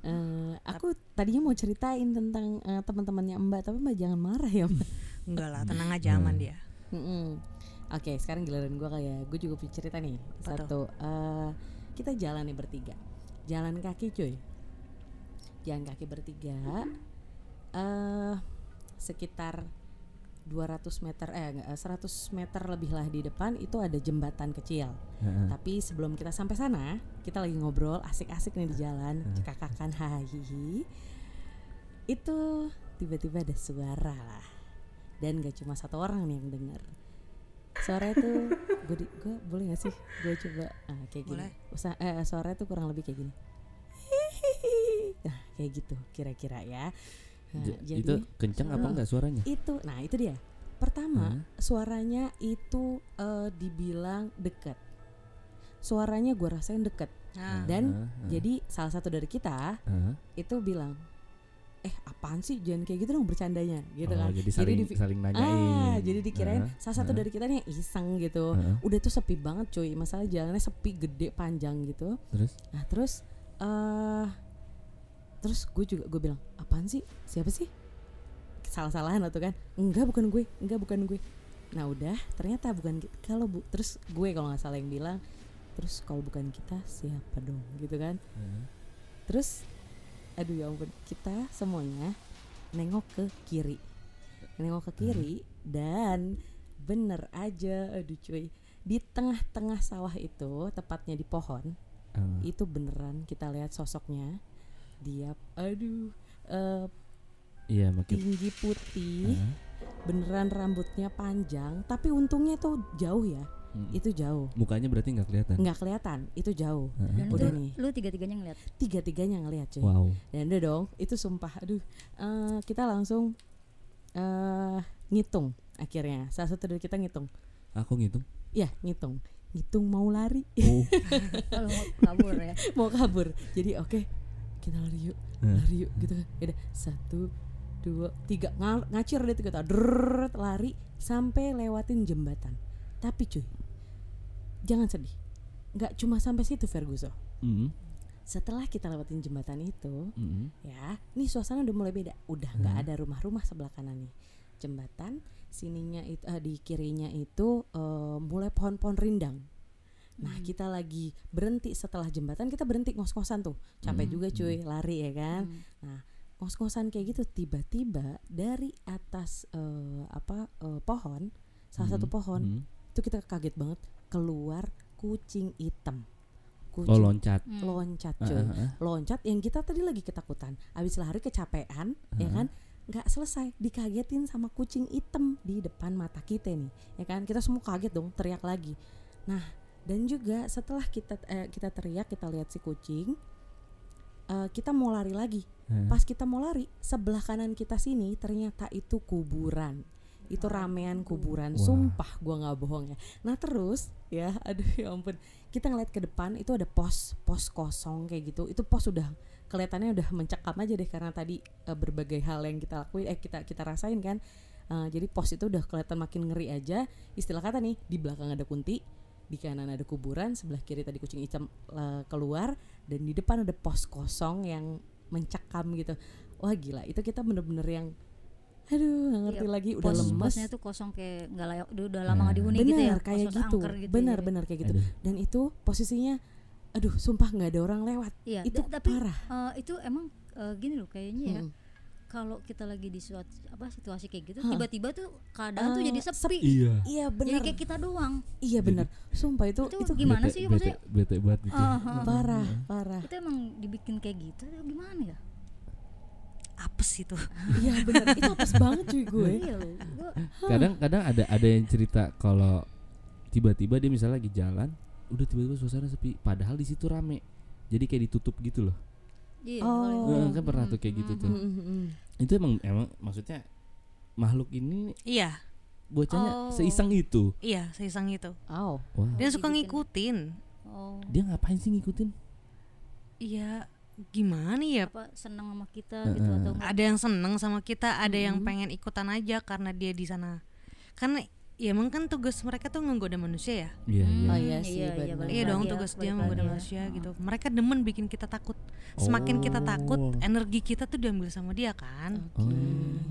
Speaker 2: Eh, aku tadinya mau ceritain tentang eh, teman-temannya Mbak, tapi Mbak jangan marah ya Mbak.
Speaker 4: enggak lah tenang aja aman dia
Speaker 2: Mm-mm. Oke, sekarang giliran gue kali ya. Gue juga punya cerita nih.
Speaker 4: Apa
Speaker 2: Satu, eh, kita jalan nih bertiga. Jalan kaki cuy. Jalan kaki bertiga. eh sekitar 200 meter eh nggak, eh, 100 meter lebih lah di depan itu ada jembatan kecil.
Speaker 1: Heeh.
Speaker 2: Tapi sebelum kita sampai sana, kita lagi ngobrol asik-asik nih di jalan, cekakakan hahihi. Itu tiba-tiba ada suara lah. Dan gak cuma satu orang nih yang denger. Suara itu gue gue boleh gak sih gue coba ah, kayak gini.
Speaker 4: Boleh.
Speaker 2: Usa- eh, suara itu kurang lebih kayak gini. Nah, kayak gitu kira-kira ya. Nah,
Speaker 1: J-
Speaker 2: jadi-
Speaker 1: itu kencang apa enggak suaranya?
Speaker 2: itu nah itu dia
Speaker 1: Hmm.
Speaker 2: pertama suaranya itu eh, dibilang deket suaranya gue rasain deket
Speaker 4: nah,
Speaker 2: dan
Speaker 1: Heeh,
Speaker 2: jadi salah satu dari kita
Speaker 1: heeh.
Speaker 2: itu bilang eh apaan sih jangan kayak gitu dong bercandanya gitu
Speaker 1: Oh,
Speaker 2: kan
Speaker 1: Jadi saling
Speaker 2: dipi-
Speaker 1: saling nanyain.
Speaker 2: ah jadi dikirain
Speaker 1: Heeh,
Speaker 2: salah satu
Speaker 1: heeh,
Speaker 2: dari kita nih yang iseng gitu
Speaker 1: heeh.
Speaker 2: udah tuh sepi banget cuy masalah jalannya sepi gede panjang gitu
Speaker 1: Terus
Speaker 2: Nah terus eh terus gue juga gue bilang apaan sih siapa sih salah-salahan atau kan enggak bukan gue enggak bukan gue nah udah ternyata bukan ki- kalau bu terus gue kalau nggak salah yang bilang terus kalau bukan kita siapa dong gitu kan
Speaker 1: Heeh.
Speaker 2: terus aduh ya ampun kita semuanya nengok ke kiri nengok ke kiri dan bener aja aduh cuy di tengah-tengah sawah itu tepatnya di pohon
Speaker 1: eh,
Speaker 2: itu beneran kita lihat sosoknya dia aduh eh,
Speaker 1: iya makin nah.
Speaker 2: tinggi putih
Speaker 1: Heeh.
Speaker 2: beneran rambutnya panjang tapi untungnya itu jauh ya
Speaker 1: Mm.
Speaker 2: itu jauh
Speaker 1: mukanya berarti nggak kelihatan.
Speaker 2: nggak kelihatan itu jauh
Speaker 1: Heeh.
Speaker 3: Dan
Speaker 2: Udah
Speaker 3: itu
Speaker 2: nih.
Speaker 3: lu tiga-tiganya ngeliat
Speaker 2: tiga tiganya ngeliat cuy
Speaker 1: Wow.
Speaker 2: dan udah dong itu sumpah aduh Eh, kita langsung eh ngitung akhirnya salah satu dari kita ngitung
Speaker 1: Aku ngitung.
Speaker 2: ya ngitung ngitung mau lari
Speaker 1: Oh.
Speaker 3: kalau mau kabur ya
Speaker 2: mau kabur jadi oke kita lari yuk
Speaker 1: Heeh.
Speaker 2: lari yuk gitu kan udah satu dua tiga Ngal- ngacir deh tuh kita Drrrr, lari sampai lewatin jembatan tapi cuy jangan sedih nggak cuma sampai situ Ferguson
Speaker 1: Mm-mm,
Speaker 2: setelah kita lewatin jembatan itu
Speaker 1: mm-mm.
Speaker 2: ya nih suasana udah mulai beda udah nggak ada rumah-rumah sebelah kanan nih jembatan sininya itu eh, di kirinya itu eh, mulai pohon-pohon rindang nah kita lagi berhenti setelah jembatan kita berhenti ngos-ngosan tuh capek juga cuy lari ya kan
Speaker 3: Hmm.
Speaker 2: nah ngos-ngosan kayak gitu tiba-tiba dari atas eh, apa eh, pohon salah satu
Speaker 1: Mm,
Speaker 2: pohon
Speaker 1: mm.
Speaker 2: itu kita kaget banget keluar kucing hitam
Speaker 1: Oh
Speaker 2: kucing
Speaker 1: loncat.
Speaker 3: Hmm.
Speaker 2: loncat
Speaker 1: Ah,
Speaker 2: cuy
Speaker 1: ah, ah.
Speaker 2: loncat yang kita tadi lagi ketakutan habis lari kecapean ya kan nggak selesai dikagetin sama kucing hitam di depan mata kita nih ya kan kita semua kaget dong teriak lagi nah dan juga setelah kita eh, kita teriak kita lihat si kucing eh, kita mau lari lagi
Speaker 1: Heeh.
Speaker 2: pas kita mau lari sebelah kanan kita sini ternyata itu kuburan itu ramean kuburan
Speaker 1: Wah.
Speaker 2: sumpah gua nggak bohong ya nah terus ya aduh ya ampun kita ngeliat ke depan itu ada pos pos kosong kayak gitu itu pos udah kelihatannya udah mencekam aja deh karena tadi eh, berbagai hal yang kita lakuin eh kita kita rasain kan Eh, jadi pos itu udah kelihatan makin ngeri aja istilah kata nih di belakang ada kunti di kanan ada kuburan sebelah kiri tadi kucing hitam eh, keluar dan di depan ada pos kosong yang mencekam gitu wah gila itu kita bener-bener yang aduh nggak ngerti
Speaker 3: Iya,
Speaker 2: lagi udah
Speaker 3: Pos-
Speaker 2: lemes
Speaker 3: posnya tuh kosong kayak nggak layak udah, udah lama
Speaker 1: Hmm.
Speaker 3: nggak dihuni
Speaker 2: bener
Speaker 3: gitu ya
Speaker 2: kayak
Speaker 3: pos-pos
Speaker 2: gitu,
Speaker 3: angker gitu
Speaker 2: bener
Speaker 3: ya.
Speaker 2: bener kayak gitu
Speaker 1: Aduh.
Speaker 2: dan itu posisinya aduh sumpah nggak ada orang lewat
Speaker 3: iya
Speaker 2: itu
Speaker 3: da- tapi
Speaker 2: parah
Speaker 3: eh, itu emang eh, gini loh kayaknya ya
Speaker 2: Mm.
Speaker 3: kalau kita lagi di suatu apa situasi kayak gitu
Speaker 2: Hah.
Speaker 3: tiba-tiba tuh keadaan tuh
Speaker 2: Eh,
Speaker 3: jadi sepi
Speaker 1: Iya.
Speaker 2: iya
Speaker 3: jadi
Speaker 2: bener
Speaker 3: kayak kita doang
Speaker 2: iya bener sumpah itu
Speaker 3: itu,
Speaker 2: itu,
Speaker 3: gimana
Speaker 1: Bete-
Speaker 3: sih
Speaker 1: Bete,
Speaker 3: maksudnya
Speaker 1: bete banget gitu.
Speaker 3: Ah, ah.
Speaker 4: Iya.
Speaker 2: parah parah
Speaker 3: itu emang dibikin kayak gitu atau gimana ya
Speaker 4: apes itu
Speaker 2: Iya benar. Itu apes banget cuy gue.
Speaker 3: Iya loh, gua-
Speaker 1: kadang-kadang ada ada yang cerita kalau tiba-tiba dia misalnya lagi jalan udah tiba-tiba suasana sepi padahal di situ rame jadi kayak ditutup gitu loh
Speaker 3: iya,
Speaker 2: Oh.
Speaker 3: paling
Speaker 1: Eh,
Speaker 4: Hmm.
Speaker 3: gua-
Speaker 1: kan pernah tuh kayak gitu tuh
Speaker 2: Mm, mm, mm.
Speaker 1: itu emang emang maksudnya makhluk ini
Speaker 4: iya
Speaker 1: bocahnya
Speaker 3: Oh.
Speaker 1: seiseng itu
Speaker 4: iya seisang itu
Speaker 2: Oh.
Speaker 1: wah
Speaker 4: dia suka
Speaker 3: dibikin.
Speaker 4: ngikutin
Speaker 3: Oh,
Speaker 1: dia ngapain sih ngikutin
Speaker 4: iya gimana ya
Speaker 3: apa seneng sama kita
Speaker 4: Ah,
Speaker 3: gitu atau enggak?
Speaker 4: ada yang seneng sama kita ada yang pengen ikutan aja karena dia di sana karena ya emang kan tugas mereka tuh menggoda manusia ya
Speaker 1: iya
Speaker 2: Oh
Speaker 1: iya
Speaker 2: iya sih
Speaker 3: Hmm, Iya, iya,
Speaker 2: benar.
Speaker 3: balik
Speaker 4: iya dong
Speaker 3: lagi ya,
Speaker 4: tugas
Speaker 3: balik
Speaker 4: dia
Speaker 3: lagi
Speaker 4: menggoda
Speaker 3: ya.
Speaker 4: manusia gitu mereka demen bikin kita takut semakin kita takut
Speaker 1: Oh.
Speaker 4: energi kita tuh diambil sama dia kan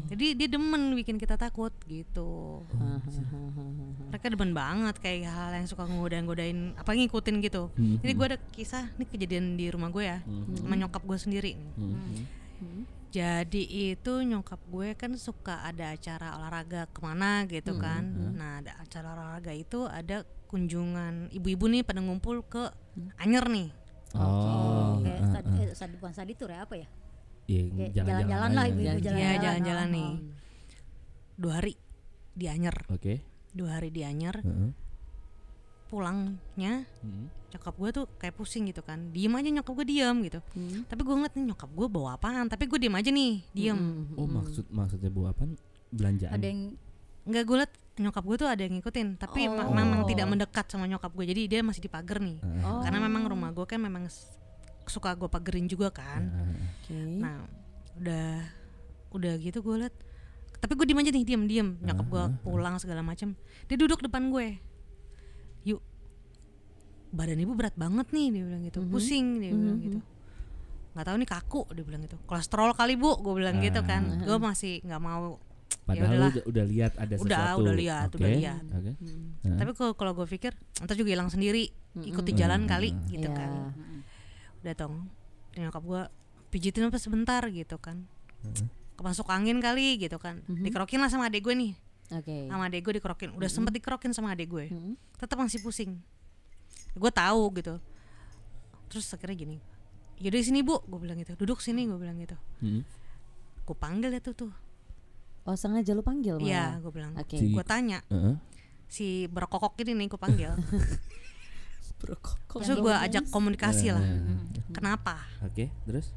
Speaker 4: jadi dia demen bikin kita takut gitu mereka demen banget kayak hal yang suka ngodain-ngodain apa ngikutin gitu
Speaker 1: Hmm.
Speaker 4: jadi gue ada kisah nih kejadian di rumah gue ya sama nyokap gue sendiri nih
Speaker 1: Hmm.
Speaker 4: jadi itu nyokap gue kan suka ada acara olahraga kemana gitu kan nah ada acara olahraga itu ada kunjungan ibu-ibu nih pada ngumpul ke Anyer nih Ah,
Speaker 1: oh
Speaker 3: kayak stad, eh, stad- bukan staditur ya apa ya?
Speaker 1: iya
Speaker 3: Kayak
Speaker 1: jalan-jalan gitu.
Speaker 3: jalan-jalan lah
Speaker 1: aja.
Speaker 3: ibu-ibu
Speaker 2: Jalan-jalan.
Speaker 4: ya
Speaker 3: jalan-jalan.
Speaker 4: jalan-jalan
Speaker 3: Ah,
Speaker 4: nih dua hari di Anyer
Speaker 1: oke
Speaker 4: dua hari di Anyer
Speaker 1: Heeh.
Speaker 4: pulangnya
Speaker 1: Hmm.
Speaker 4: nyokap gue tuh kayak pusing gitu kan diem aja nyokap gue diem gitu tapi gue ngeliat nih nyokap gue bawa apaan tapi gue diem aja nih diem
Speaker 1: oh maksud maksudnya bu apa belanjaan Ah,
Speaker 3: Ada yang
Speaker 4: nggak gue liat nyokap gue tuh ada yang ngikutin tapi ma-
Speaker 1: Oh.
Speaker 4: memang tidak mendekat sama nyokap gue jadi dia masih di pagar nih
Speaker 1: Heeh.
Speaker 2: Oh.
Speaker 4: karena memang rumah gue kan memang s- suka gue pagerin juga kan
Speaker 1: Heeh.
Speaker 2: Oke.
Speaker 4: nah udah udah gitu gue liat tapi gue diem aja nih diem diem nyokap gue pulang segala macam dia duduk depan gue yuk badan ibu berat banget nih dia bilang gitu pusing dia bilang gitu nggak tahu nih kaku dia bilang gitu kolesterol kali bu gue bilang gitu kan gue masih nggak mau
Speaker 1: Padahal lu
Speaker 4: yaudahlah.
Speaker 1: udah, udah lihat ada
Speaker 4: Udah,
Speaker 1: sesuatu.
Speaker 4: udah lihat,
Speaker 1: Oke,
Speaker 4: udah lihat.
Speaker 1: oke.
Speaker 4: tapi kalau kalau gue pikir entar juga hilang sendiri ikuti jalan kali gitu
Speaker 2: Iya.
Speaker 4: kan udah tong Ya, nyokap gue pijitin apa sebentar gitu kan masuk angin kali gitu kan dikerokin lah sama adek gue nih
Speaker 2: Mm-hmm. Oke. Mm-hmm.
Speaker 4: sama adek gue dikerokin udah sempet dikerokin sama adek gue tetap masih pusing gue tahu gitu terus akhirnya gini yaudah sini bu gue bilang gitu duduk sini gue bilang gitu
Speaker 1: Hmm.
Speaker 4: gue panggil ya tuh tuh
Speaker 2: Oh sengaja lu panggil malah.
Speaker 4: iya gue bilang
Speaker 2: Oke.
Speaker 1: Si-
Speaker 4: gue tanya
Speaker 1: Heeh.
Speaker 4: si berkokok ini nih gue panggil
Speaker 2: Bro, kok- kok-
Speaker 4: terus gue
Speaker 1: Iya,
Speaker 4: ajak komunikasi lah Mm-hmm. kenapa
Speaker 1: Oke, terus?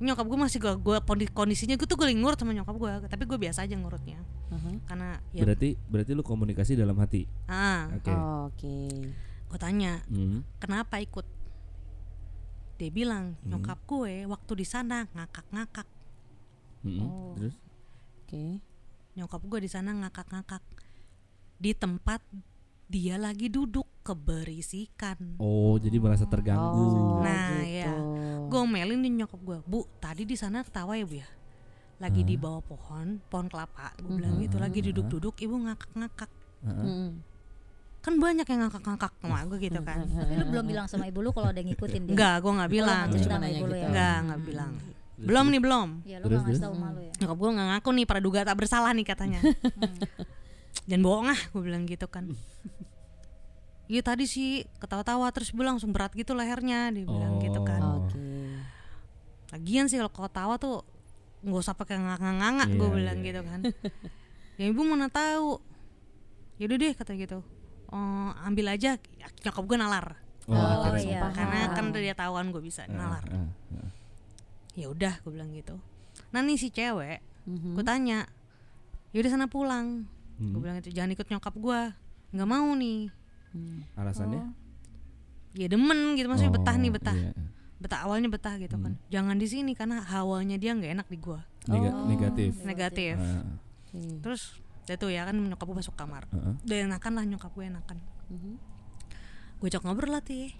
Speaker 4: nyokap gue masih gue gue kondisinya gue tuh gue ngurut sama nyokap gue tapi gue biasa aja ngurutnya
Speaker 2: Aha.
Speaker 4: karena ya
Speaker 1: Berarti berarti lu komunikasi dalam hati.
Speaker 4: ah
Speaker 1: Oke.
Speaker 2: Oh, Oke.
Speaker 4: gue tanya
Speaker 1: Hmm.
Speaker 4: kenapa ikut dia bilang nyokap gue waktu di sana ngakak-ngakak
Speaker 1: Hmm.
Speaker 3: Oh.
Speaker 1: Terus?
Speaker 2: Oke.
Speaker 4: nyokap gue di sana ngakak-ngakak di tempat dia lagi duduk keberisikan
Speaker 1: Oh, jadi merasa terganggu.
Speaker 2: Oh,
Speaker 4: Nah,
Speaker 2: gitu.
Speaker 4: ya. gue melin nih nyokap gue bu tadi di sana ketawa ya bu ya lagi di bawah pohon pohon kelapa gue bilang gitu lagi duduk-duduk ibu ngakak-ngakak
Speaker 2: Mm-mm.
Speaker 4: kan banyak yang ngakak-ngakak sama gue gitu kan
Speaker 3: tapi lu belum bilang sama ibu lu kalau ada yang ngikutin dia.
Speaker 4: enggak gue nggak bilang
Speaker 3: Lu
Speaker 2: cuma
Speaker 3: cerita sama
Speaker 2: nanya
Speaker 3: ibu lu
Speaker 2: gitu.
Speaker 3: ya.
Speaker 4: enggak nggak bilang belum nih belum
Speaker 3: Iya, lu
Speaker 1: Terus,
Speaker 3: enggak ngasih
Speaker 1: terus?
Speaker 3: tahu malu ya.
Speaker 4: nyokap gue nggak ngaku nih praduga tak bersalah nih katanya Hmm. jangan bohong ah gue bilang gitu kan Iya tadi sih ketawa-tawa terus gue langsung berat gitu lehernya dia bilang gitu kan.
Speaker 1: Oh.
Speaker 2: Oke.
Speaker 4: Lagian sih kalau ketawa tuh nggak usah pakai nganga-nganga
Speaker 1: Iya,
Speaker 4: gue bilang
Speaker 1: iya.
Speaker 4: gitu kan. ya ibu mana tahu. Yaudah deh kata gitu. Oh, ambil aja nyokap gue Nah, nalar
Speaker 1: Oh, akhirnya
Speaker 3: iya.
Speaker 1: gitu.
Speaker 4: karena kan udah dia tahuan gue bisa nalar.
Speaker 1: Ah, ah.
Speaker 4: ya udah gue bilang gitu nah nih si cewek gue tanya yaudah sana pulang
Speaker 1: Mhm.
Speaker 4: gue bilang itu jangan ikut nyokap gue nggak mau nih
Speaker 1: Alasannya?
Speaker 4: ya demen gitu maksudnya betah nih
Speaker 1: Oh,
Speaker 4: betah
Speaker 1: iya. Hmm.
Speaker 4: betah awalnya betah gitu kan jangan di sini karena hawanya dia nggak enak di gue
Speaker 1: Nega- Negatif.
Speaker 4: Oh, negatif
Speaker 1: Ah,
Speaker 2: Oke.
Speaker 4: terus udah tuh ya kan nyokap gue masuk kamar
Speaker 1: ah, ah.
Speaker 4: udah enakan lah nyokap gue enakan
Speaker 2: Mhm.
Speaker 4: gue cok ngobrol lah tuh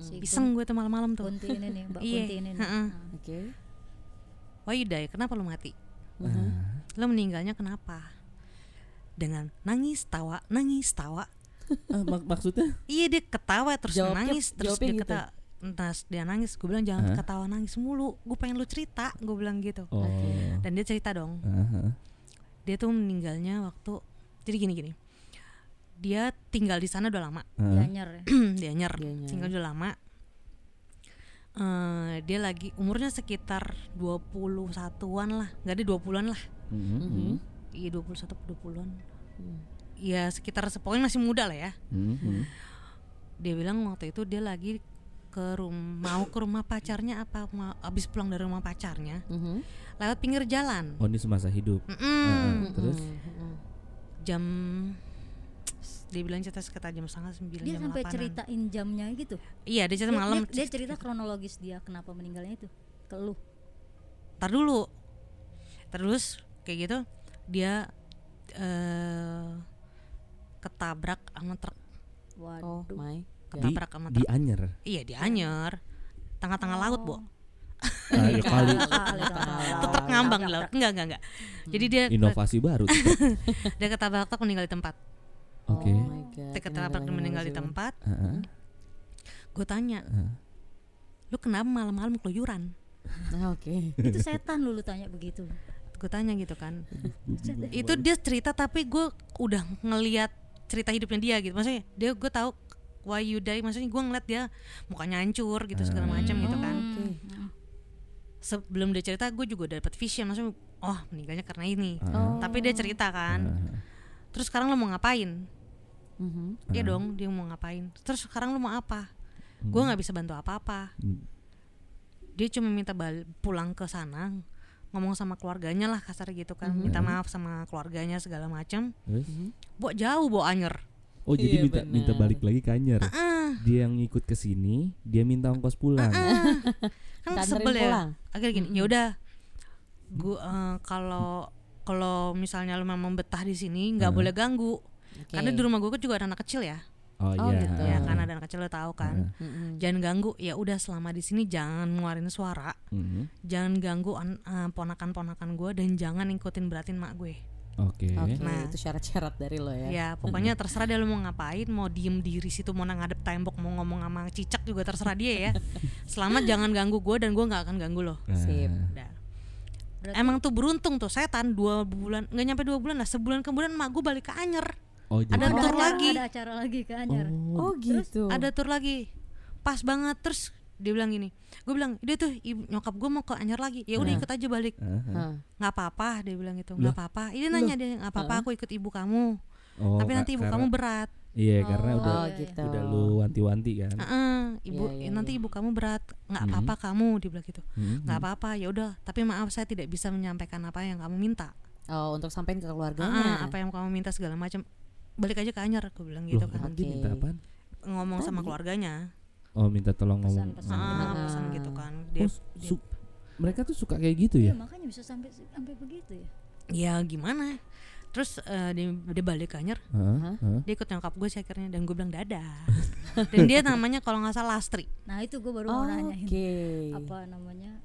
Speaker 3: Si
Speaker 4: Hmm, iseng gue tuh malam-malam tuh
Speaker 3: Kunti ini nih, Mbak
Speaker 4: Iya,
Speaker 3: Kunti ini. Ah. nih.
Speaker 4: heeh.
Speaker 2: Oke.
Speaker 4: Wah Yudai, kenapa lo mati?
Speaker 1: Nah.
Speaker 4: Lo meninggalnya kenapa? Dengan nangis tawa, nangis tawa.
Speaker 1: Ah, mak- maksudnya?
Speaker 4: Iya dia ketawa terus
Speaker 2: Jawabnya-
Speaker 4: nangis terus
Speaker 2: jawabnya
Speaker 4: dia
Speaker 2: gitu.
Speaker 4: ketawa. Terus dia nangis, gue bilang jangan
Speaker 1: Hah?
Speaker 4: ketawa nangis mulu. Gue pengen lu cerita, gue bilang gitu.
Speaker 1: Oh.
Speaker 4: Dan dia cerita dong.
Speaker 1: Ah, ah.
Speaker 4: Dia tuh meninggalnya waktu jadi gini-gini. Dia tinggal di sana udah lama.
Speaker 3: ya?
Speaker 1: Ah.
Speaker 3: Danyer.
Speaker 4: dia nyer,
Speaker 2: Dia Iya, nyer.
Speaker 4: tinggal udah lama. eh, dia lagi umurnya sekitar 21-an lah, nggak ada 20-an lah.
Speaker 1: Mhm, mhm,
Speaker 4: Iya 21 ke 20-an.
Speaker 2: Mm-hmm.
Speaker 4: Iya sekitar sepoknya masih muda lah ya.
Speaker 1: mhm, mhm.
Speaker 4: Dia bilang waktu itu dia lagi ke rumah mau ke rumah pacarnya apa ma- abis pulang dari rumah pacarnya
Speaker 2: Mhm.
Speaker 4: lewat pinggir jalan.
Speaker 1: Oh ini semasa hidup.
Speaker 4: Mm-mm.
Speaker 1: Ah, terus
Speaker 2: Mhm.
Speaker 4: jam dia bilang cerita sekitar jam setengah sembilan
Speaker 3: dia
Speaker 4: jam
Speaker 3: sampai
Speaker 4: 8-an.
Speaker 3: ceritain jamnya gitu
Speaker 4: iya dia cerita
Speaker 3: Dia-
Speaker 4: malam
Speaker 3: dia, dia cerita kronologis dia kenapa meninggalnya itu ke lu
Speaker 4: tar dulu terus kayak gitu dia eh ketabrak sama truk
Speaker 2: Oh
Speaker 3: waduh
Speaker 1: di,
Speaker 2: my.
Speaker 4: ketabrak sama
Speaker 1: di
Speaker 4: truk
Speaker 1: Anyer.
Speaker 4: iya di Anyer tengah-tengah laut
Speaker 3: Oh.
Speaker 4: bu
Speaker 1: Ah, ya kali
Speaker 4: Itu truk ngambang di laut enggak enggak enggak jadi dia
Speaker 1: inovasi baru. tuh.
Speaker 4: dia ketabrak truk meninggal di tempat
Speaker 1: Oke. Nah,
Speaker 2: Oh my god.
Speaker 4: dia ketabrak
Speaker 2: Innalillahi
Speaker 4: truk meninggal di
Speaker 2: wa inna ilaihi
Speaker 4: tempat
Speaker 1: Heeh.
Speaker 4: gue tanya lu kenapa malam-malam keluyuran
Speaker 2: raji'un. Ah, Oke.
Speaker 4: Hmm.
Speaker 3: itu setan lu, lu tanya begitu
Speaker 4: gue tanya gitu kan itu dia cerita tapi gue udah ngeliat cerita hidupnya dia gitu maksudnya dia gue tahu why you die maksudnya gue ngeliat dia mukanya hancur gitu segala macam gitu kan
Speaker 3: Hmm.
Speaker 4: sebelum dia cerita gue juga udah dapet vision maksudnya oh meninggalnya karena ini
Speaker 1: Ah.
Speaker 4: tapi dia cerita Oh,
Speaker 1: Nah,
Speaker 4: kan terus sekarang lo mau ngapain
Speaker 2: Mhm.
Speaker 4: Iya dong dia mau ngapain terus sekarang lo mau apa gue nggak bisa bantu apa-apa
Speaker 1: Hmm.
Speaker 4: dia cuma minta bal- pulang ke sana ngomong sama keluarganya lah kasar gitu kan
Speaker 2: Mhm.
Speaker 4: minta maaf sama keluarganya segala macam
Speaker 1: Terus?
Speaker 4: Bo jauh bo anyer.
Speaker 1: Oh jadi
Speaker 2: Iya,
Speaker 1: minta minta
Speaker 2: benar.
Speaker 1: balik lagi ke Anyer.
Speaker 4: Ah,
Speaker 1: Dia yang ngikut ke sini, dia minta ongkos pulang.
Speaker 4: kan
Speaker 2: Nggak
Speaker 4: sebel
Speaker 2: anterin pulang. Mhm.
Speaker 4: ya. Akhirnya gini, ya udah. Gua eh, kalau kalau misalnya lu memang betah di sini nggak boleh ganggu.
Speaker 2: Mhm. Oke.
Speaker 4: Karena di rumah gue juga ada anak kecil ya.
Speaker 1: Oh,
Speaker 2: Oh,
Speaker 1: iya.
Speaker 2: gitu.
Speaker 4: Ya kan ada anak kecil lo tahu kan.
Speaker 2: Mhm.
Speaker 4: Jangan ganggu. Ya udah selama di sini jangan ngeluarin suara.
Speaker 1: Mhm.
Speaker 4: Jangan ganggu an- eh, ponakan-ponakan gue dan jangan ngikutin beratin mak gue.
Speaker 1: Oke.
Speaker 2: Oke,
Speaker 4: Nah.
Speaker 2: itu syarat-syarat dari lo ya.
Speaker 4: Ya pokoknya terserah dia lu mau ngapain, mau diem diri situ, mau ngadep tembok, mau ngomong sama cicak juga terserah dia ya. Selama jangan ganggu gue dan gue nggak akan ganggu lo.
Speaker 1: Nah.
Speaker 2: Sip.
Speaker 4: Udah.
Speaker 3: Berarti-
Speaker 4: Emang tuh beruntung tuh setan dua bulan nggak nyampe dua bulan lah sebulan kemudian emak gue balik ke Anyer
Speaker 1: Oh jadi
Speaker 4: Ada
Speaker 3: ada
Speaker 4: tur
Speaker 3: acara,
Speaker 4: lagi.
Speaker 3: ada acara lagi ke Anyer
Speaker 2: Oh gitu.
Speaker 4: ada tur lagi pas banget terus dia bilang gini gue bilang dia tuh ibu- nyokap gue mau ke Anyer lagi ya
Speaker 2: Nah.
Speaker 4: udah ikut aja balik
Speaker 1: Aha.
Speaker 2: Hah.
Speaker 4: nggak apa-apa dia bilang gitu nggak apa-apa ini nanya dia nggak apa-apa aku ikut ibu kamu
Speaker 1: Oh,
Speaker 4: tapi
Speaker 1: ka-
Speaker 4: nanti ibu
Speaker 1: karena-
Speaker 4: kamu berat
Speaker 1: Iya karena udah
Speaker 2: Oh gitu.
Speaker 1: udah lu wanti-wanti kan.
Speaker 4: Heeh, ibu
Speaker 2: Iya, iya,
Speaker 4: nanti ibu kamu berat nggak apa-apa kamu dia bilang gitu
Speaker 1: Mhm.
Speaker 4: nggak apa-apa ya udah tapi maaf saya tidak bisa menyampaikan apa yang kamu minta
Speaker 2: Oh, untuk sampein ke
Speaker 4: Ah,
Speaker 2: keluarganya.
Speaker 4: apa yang kamu minta segala macam balik aja ke Anyer gue bilang gitu
Speaker 1: Loh,
Speaker 4: kan
Speaker 1: emang dia minta
Speaker 2: Oke.
Speaker 1: apaan?
Speaker 4: ngomong sama keluarganya
Speaker 1: Oh minta tolong ngomong.
Speaker 3: Pesan-pesan.
Speaker 1: Ah.
Speaker 4: ah, pesan gitu kan
Speaker 1: Oh,
Speaker 4: dia
Speaker 1: su- mereka tuh suka kayak gitu ya?
Speaker 3: Iya, makanya bisa sampai sampai begitu ya
Speaker 4: ya gimana terus eh, dia, dia balik ke Anyer
Speaker 1: Heeh. heeh.
Speaker 4: dia ikut nyokap gue sih akhirnya dan gue bilang dadah dan dia namanya kalau nggak salah Lastri
Speaker 3: nah itu gue baru mau
Speaker 2: Oh,
Speaker 3: nanyain
Speaker 2: Oke.
Speaker 3: apa namanya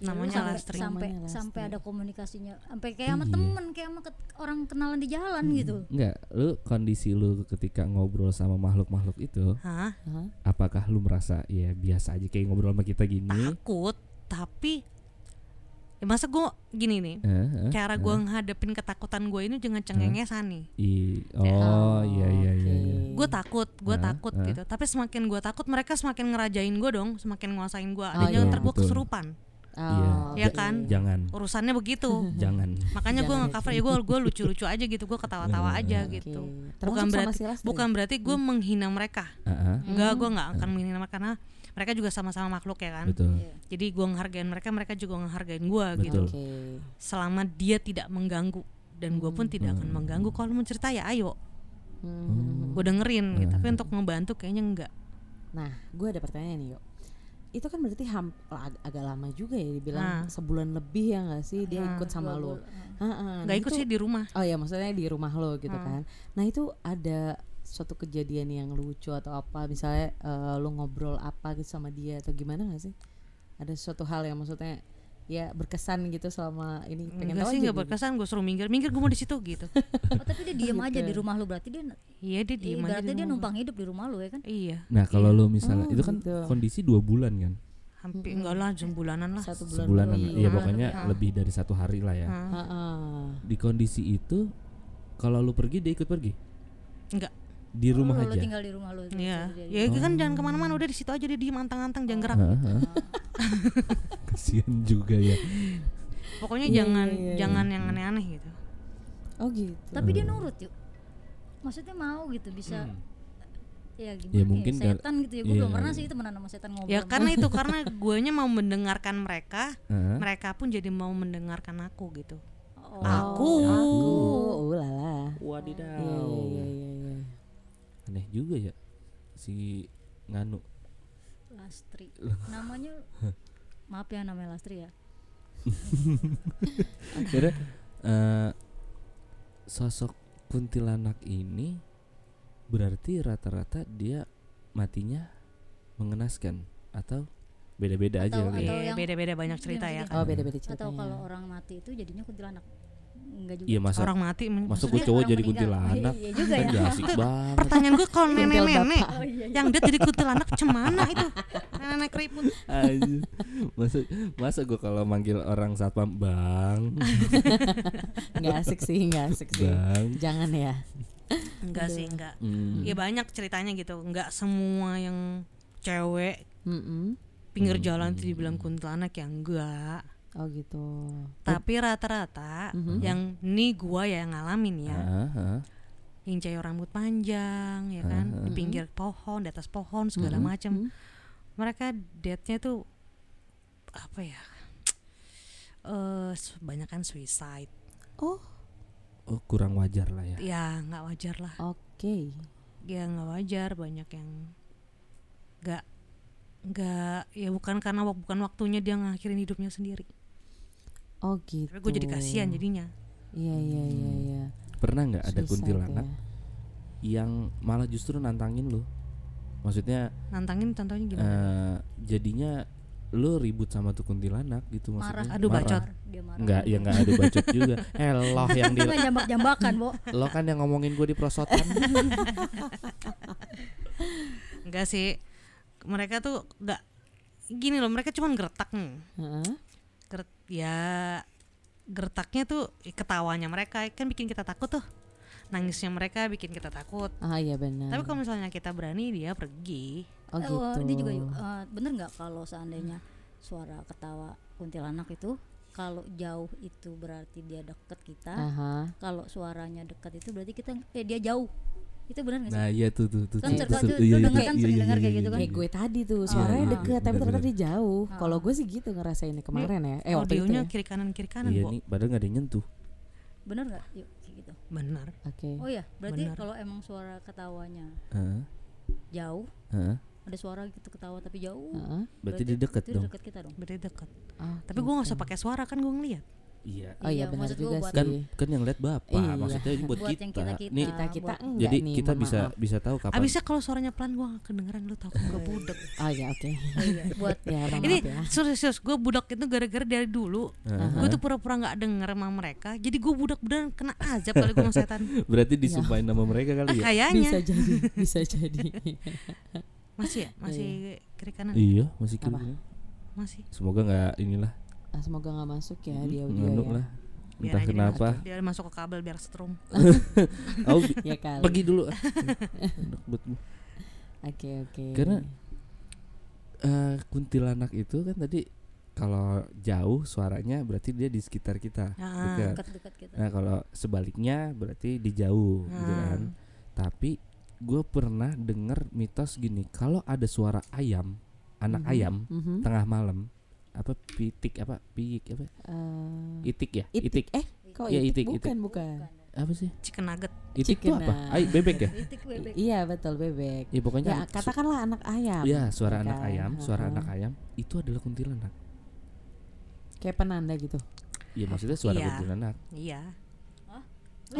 Speaker 3: Iya,
Speaker 4: namanya
Speaker 3: sampai,
Speaker 4: Lastri
Speaker 3: sampai
Speaker 2: Namanya Lastri.
Speaker 3: sampai ada komunikasinya sampai kayak sama
Speaker 1: Iya.
Speaker 3: temen kayak sama ket- orang kenalan di jalan gitu
Speaker 1: Enggak, lu kondisi lu ketika ngobrol sama makhluk-makhluk itu,
Speaker 4: Hah?
Speaker 2: Hah?
Speaker 1: apakah lu merasa ya biasa aja kayak ngobrol sama kita gini?
Speaker 4: takut tapi ya masa gue gini nih
Speaker 1: Heeh. heeh.
Speaker 4: cara gue ngadepin ketakutan gue ini dengan cengengesan nih
Speaker 1: I- oh iya iya iya.
Speaker 2: oke.
Speaker 1: iya.
Speaker 4: gue takut gue
Speaker 1: Hah?
Speaker 4: takut
Speaker 1: Hah?
Speaker 4: gitu tapi semakin gue takut mereka semakin ngerajain gue dong semakin nguasain gue
Speaker 1: iya,
Speaker 4: adanya ntar gue
Speaker 1: betul.
Speaker 4: kesurupan
Speaker 1: Iya.
Speaker 2: Oh,
Speaker 4: ya
Speaker 2: oke.
Speaker 4: kan
Speaker 1: Jangan,
Speaker 4: urusannya begitu
Speaker 1: jangan.
Speaker 4: makanya
Speaker 2: Jangan
Speaker 4: gue
Speaker 2: gitu.
Speaker 4: nggak cover ya gue gue lucu-lucu aja gitu gue ketawa-tawa aja
Speaker 2: Oke.
Speaker 4: gitu
Speaker 2: Termasuk
Speaker 4: bukan
Speaker 2: sama
Speaker 4: berarti
Speaker 2: si Lastri?
Speaker 4: bukan berarti gue
Speaker 2: Hmm.
Speaker 4: menghina mereka
Speaker 1: Heeh,
Speaker 4: enggak gue nggak akan menghina mereka karena mereka juga sama-sama makhluk ya kan
Speaker 1: Betul.
Speaker 3: Iya.
Speaker 4: jadi gue ngehargain mereka mereka juga ngehargain gue gitu
Speaker 1: Betul.
Speaker 2: Oke.
Speaker 4: selama dia tidak mengganggu dan gue pun tidak
Speaker 1: Hmm.
Speaker 4: akan mengganggu kalau mau cerita ya ayo
Speaker 2: Hmm.
Speaker 4: gue dengerin gitu tapi untuk ngebantu kayaknya enggak
Speaker 2: Nah, gue ada pertanyaan nih, yuk. Itu kan berarti ham- ag- agak lama juga ya dibilang
Speaker 4: Ah.
Speaker 2: sebulan lebih ya nggak sih dia ikut sama lo.
Speaker 3: Dua bul- ah.
Speaker 2: Heeh. nah
Speaker 4: nggak ikut
Speaker 2: itu-
Speaker 4: sih di rumah
Speaker 2: Oh ya, maksudnya di rumah lo gitu
Speaker 4: Hmm.
Speaker 2: kan. Nah, itu ada suatu kejadian yang lucu atau apa misalnya eh, lo ngobrol apa gitu sama dia atau gimana nggak sih? Ada suatu hal yang maksudnya ya berkesan gitu selama ini pengen tahu
Speaker 4: enggak
Speaker 2: aja
Speaker 4: sih enggak
Speaker 2: gitu.
Speaker 4: berkesan gue suruh minggir minggir gue mau di situ gitu
Speaker 3: oh, tapi dia diem aja di rumah lu berarti dia
Speaker 4: iya dia diem aja
Speaker 3: berarti
Speaker 4: di
Speaker 3: dia
Speaker 4: rumah.
Speaker 3: numpang hidup di rumah lu ya kan
Speaker 4: iya
Speaker 1: Nah, kalau lu misalnya
Speaker 2: Oh,
Speaker 1: itu kan
Speaker 2: gitu.
Speaker 1: kondisi dua bulan kan?
Speaker 4: hampir enggak lah sebulanan lah
Speaker 2: satu bulan Iya.
Speaker 1: Sebulanan.
Speaker 2: lebih.
Speaker 1: Iya, pokoknya lebih dari satu hari lah ya.
Speaker 4: Hah?
Speaker 2: Heeh.
Speaker 1: Di kondisi itu kalau lu pergi dia ikut pergi?
Speaker 4: enggak
Speaker 1: di rumah
Speaker 3: Lu- lu
Speaker 1: aja.
Speaker 3: tinggal di rumah lu lu
Speaker 4: Iya,
Speaker 3: sendiri aja.
Speaker 4: ya kan jangan kemana-mana, udah di situ aja dia diem antang-antang, jangan gerak.
Speaker 1: Heeh, heeh. Kasihan juga ya.
Speaker 4: Pokoknya
Speaker 2: Iya,
Speaker 4: jangan
Speaker 2: iya, iya.
Speaker 4: jangan yang aneh-aneh gitu.
Speaker 2: Oh gitu.
Speaker 3: tapi
Speaker 1: Hmm.
Speaker 3: dia nurut yuk maksudnya mau gitu bisa ya gimana
Speaker 1: Ya,
Speaker 3: ya,
Speaker 1: mungkin kar-
Speaker 3: setan gitu ya gue belum
Speaker 1: iya.
Speaker 3: pernah sih temenan sama setan ngobrol
Speaker 4: Ya karena itu karena guanya mau mendengarkan mereka,
Speaker 1: Heeh.
Speaker 4: mereka pun jadi mau mendengarkan aku gitu.
Speaker 3: Oh.
Speaker 4: Aku.
Speaker 2: Aku, ulala.
Speaker 1: Wadidaw.
Speaker 2: Oh, Iya iya iya iya.
Speaker 1: Aneh juga ya si Nganu.
Speaker 3: Lastri namanya maaf ya namanya Lastri ya
Speaker 1: Kira eh, sosok kuntilanak ini berarti rata-rata dia matinya mengenaskan atau beda-beda aja
Speaker 3: Atau-
Speaker 1: kali ya?
Speaker 3: atau-
Speaker 4: Iya,
Speaker 3: yang-
Speaker 4: beda-beda banyak cerita ya.
Speaker 3: yang-
Speaker 4: Kak.
Speaker 2: Oh beda-beda ceritanya.
Speaker 3: atau kalau orang mati itu jadinya kuntilanak enggak juga
Speaker 1: Iya masa
Speaker 4: Orang mati men-
Speaker 1: masa
Speaker 3: Maksudnya
Speaker 1: gue cowok
Speaker 3: orang
Speaker 1: jadi
Speaker 3: meninggal.
Speaker 1: kuntilanak
Speaker 3: iya juga
Speaker 1: kan
Speaker 3: ya
Speaker 1: gak asik banget
Speaker 4: Pertanyaan gue kalau nenek-nenek
Speaker 2: bapak.
Speaker 3: oh iya iya.
Speaker 4: yang dia jadi kuntilanak cemana itu? Nenek keriput.
Speaker 1: Anjir. masa masa gue kalau manggil orang satpam bang
Speaker 2: Nggak asik sih, nggak asik sih.
Speaker 1: bang
Speaker 2: Jangan ya.
Speaker 4: Enggak sih, enggak.
Speaker 1: Hmm.
Speaker 4: Ya banyak ceritanya gitu. Enggak semua yang cewek
Speaker 2: Mm-mm.
Speaker 4: pinggir jalan tuh dibilang kuntilanak ya enggak.
Speaker 2: Oh gitu.
Speaker 4: Tapi rata-rata
Speaker 2: Mhm.
Speaker 4: yang nih gua ya yang ngalamin ya.
Speaker 1: Ah, ah.
Speaker 4: yang cewek rambut panjang ya kan di pinggir pohon di atas pohon segala macam
Speaker 2: Hmm?
Speaker 4: mereka date-nya tuh apa ya eh banyak kan suicide
Speaker 2: Oh,
Speaker 1: Oh kurang wajar lah ya.
Speaker 4: ya nggak wajar lah
Speaker 2: oke.
Speaker 4: ya nggak wajar banyak yang nggak nggak ya bukan karena wak- bukan waktunya dia ngakhirin hidupnya sendiri
Speaker 2: Oh gitu.
Speaker 4: tapi gue jadi kasihan jadinya
Speaker 2: Iya iya iya iya.
Speaker 1: Pernah Hmm, nggak ada
Speaker 2: Susah
Speaker 1: kuntilanak
Speaker 2: tuh ya.
Speaker 1: yang malah justru nantangin lu? Maksudnya
Speaker 4: nantangin contohnya gimana
Speaker 1: eh, jadinya lu ribut sama tuh kuntilanak gitu
Speaker 3: marah
Speaker 1: maksudnya?
Speaker 4: Aduh,
Speaker 1: Marah.
Speaker 4: bacot.
Speaker 3: dia marah
Speaker 1: Nggak, ya nggak ada bacot juga. Eh loh yang di
Speaker 3: Jangan jambak-jambakan, Bo.
Speaker 1: lo kan yang ngomongin gue di prosotan.
Speaker 4: enggak sih mereka tuh nggak gini loh mereka cuman gertak nih
Speaker 2: Heeh.
Speaker 4: Gert, ya gertaknya tuh eh, ketawanya mereka kan bikin kita takut tuh nangisnya mereka bikin kita takut
Speaker 2: Ah iya benar.
Speaker 4: tapi kalau misalnya kita berani dia pergi
Speaker 2: Oh
Speaker 3: Eh,
Speaker 2: gitu.
Speaker 3: wah, Dia juga yuk, eh, bener nggak kalau seandainya suara ketawa kuntilanak itu kalau jauh itu berarti dia deket
Speaker 2: Ah.
Speaker 3: kita.
Speaker 2: Aha.
Speaker 3: Kalau suaranya deket itu berarti kita eh dia jauh. Itu benar nggak sih?
Speaker 1: nah iya tuh tuh tuh.
Speaker 3: Kan
Speaker 1: tuh,
Speaker 3: suka
Speaker 1: tuh, Iya,
Speaker 3: tuh, lu denger kan, sering denger kayak gitu kan.
Speaker 2: Kayak gue tadi tuh
Speaker 3: Ah.
Speaker 2: suaranya
Speaker 3: Iya, Oh.
Speaker 2: deket tapi
Speaker 1: benar-benar.
Speaker 2: ternyata dia jauh. Kalau gue sih gitu ngerasainnya kemarin ya. Eh waktu itu.
Speaker 4: audionya
Speaker 2: Ya.
Speaker 4: kiri kanan kiri kanan
Speaker 1: Iya
Speaker 4: Bo.
Speaker 1: nih, padahal nggak ada yang nyentuh.
Speaker 3: Bener nggak? Yuk, kayak gitu.
Speaker 4: benar
Speaker 2: Oke.
Speaker 3: Oh ya, berarti
Speaker 4: Benar.
Speaker 3: kalau emang suara ketawanya
Speaker 1: Heeh,
Speaker 3: jauh,
Speaker 1: heeh.
Speaker 3: ada suara gitu ketawa tapi jauh.
Speaker 2: Heeh.
Speaker 1: Nah, Berarti dia deket
Speaker 3: itu
Speaker 1: dong.
Speaker 3: deket kita dong.
Speaker 4: berarti dekat
Speaker 2: Oh,
Speaker 4: tapi gue nggak usah pakai suara kan gue ngeliat
Speaker 1: Iya.
Speaker 2: Oh iya
Speaker 3: Iya,
Speaker 2: benar
Speaker 3: maksud gue
Speaker 2: juga
Speaker 3: buat-
Speaker 1: Kan
Speaker 2: sih.
Speaker 1: kan yang lihat bapak.
Speaker 2: Iya.
Speaker 1: Maksudnya ini buat,
Speaker 3: Buat yang
Speaker 1: kita.
Speaker 3: kita-kita.
Speaker 1: Nih,
Speaker 2: Kita kita
Speaker 3: buat-
Speaker 2: enggak
Speaker 1: jadi
Speaker 2: nih.
Speaker 1: kita
Speaker 2: mohon
Speaker 1: bisa
Speaker 2: maaf. Ah,
Speaker 1: bisa tahu kapan.
Speaker 4: abisnya kalau suaranya pelan gue gak kedengeran lu tau gue budek
Speaker 2: Oh ya oke.
Speaker 3: Iya, buat
Speaker 2: ya mohon
Speaker 4: ini
Speaker 2: maaf ya.
Speaker 4: serius serius gue budak itu gara-gara dari dulu
Speaker 1: Aha.
Speaker 4: gue tuh pura-pura nggak denger sama mereka jadi gue budak beneran kena azab kali gue sama setan
Speaker 1: Berarti disumpahin
Speaker 2: Iya.
Speaker 1: nama mereka
Speaker 4: Ah,
Speaker 1: kali ya?
Speaker 2: Bisa
Speaker 4: kayaknya
Speaker 2: jadi, bisa jadi.
Speaker 4: masih ya masih kiri kanan
Speaker 1: Iya, masih kiri.
Speaker 2: Apa?
Speaker 1: kanan.
Speaker 4: masih
Speaker 1: Semoga nggak inilah
Speaker 2: Ah, semoga nggak masuk ya
Speaker 1: mm,
Speaker 2: di audio
Speaker 1: nganuk
Speaker 2: ya.
Speaker 1: lah.
Speaker 4: Biar
Speaker 1: Entah
Speaker 4: aja dia
Speaker 1: kenapa.
Speaker 4: masuk- biar masuk ke kabel biar strum
Speaker 1: Aku bi-
Speaker 2: Ya kali.
Speaker 1: pergi dulu. Enak banget gua.
Speaker 2: Oke oke.
Speaker 1: Karena- Eh, kuntilanak itu kan tadi kalau jauh suaranya berarti dia di sekitar kita.
Speaker 4: Ah,
Speaker 1: dekat.
Speaker 3: deket-deket kita.
Speaker 1: Nah, kalau sebaliknya berarti di jauh gitu
Speaker 2: Hmm.
Speaker 4: Ah.
Speaker 1: kan. Tapi gue pernah denger mitos gini, kalau ada suara ayam, anak
Speaker 2: Mhm.
Speaker 1: ayam
Speaker 2: Mhm.
Speaker 1: tengah malam apa pitik apa piik apa
Speaker 2: Eh,
Speaker 1: itik ya
Speaker 2: itik.
Speaker 1: itik
Speaker 2: Eh
Speaker 3: Iya.
Speaker 2: kok
Speaker 1: Ya,
Speaker 2: itik?
Speaker 1: itik,
Speaker 2: Bukan
Speaker 1: itik.
Speaker 2: bukan.
Speaker 1: apa sih
Speaker 4: chicken nugget
Speaker 1: itik itu
Speaker 2: Chicken
Speaker 1: apa
Speaker 2: nugget.
Speaker 1: Ay, bebek ya
Speaker 3: Titik bebek.
Speaker 2: I- Iya betul bebek.
Speaker 1: ya pokoknya
Speaker 2: Ya
Speaker 1: su-
Speaker 2: katakanlah anak ayam. kan?
Speaker 1: ya suara anak
Speaker 2: Bukan,
Speaker 1: ayam suara
Speaker 2: ha-ha.
Speaker 1: anak ayam itu adalah kuntilanak
Speaker 2: Kayak penanda gitu.
Speaker 1: ya maksudnya suara
Speaker 4: Iya.
Speaker 1: kuntilanak
Speaker 4: iya
Speaker 2: Oh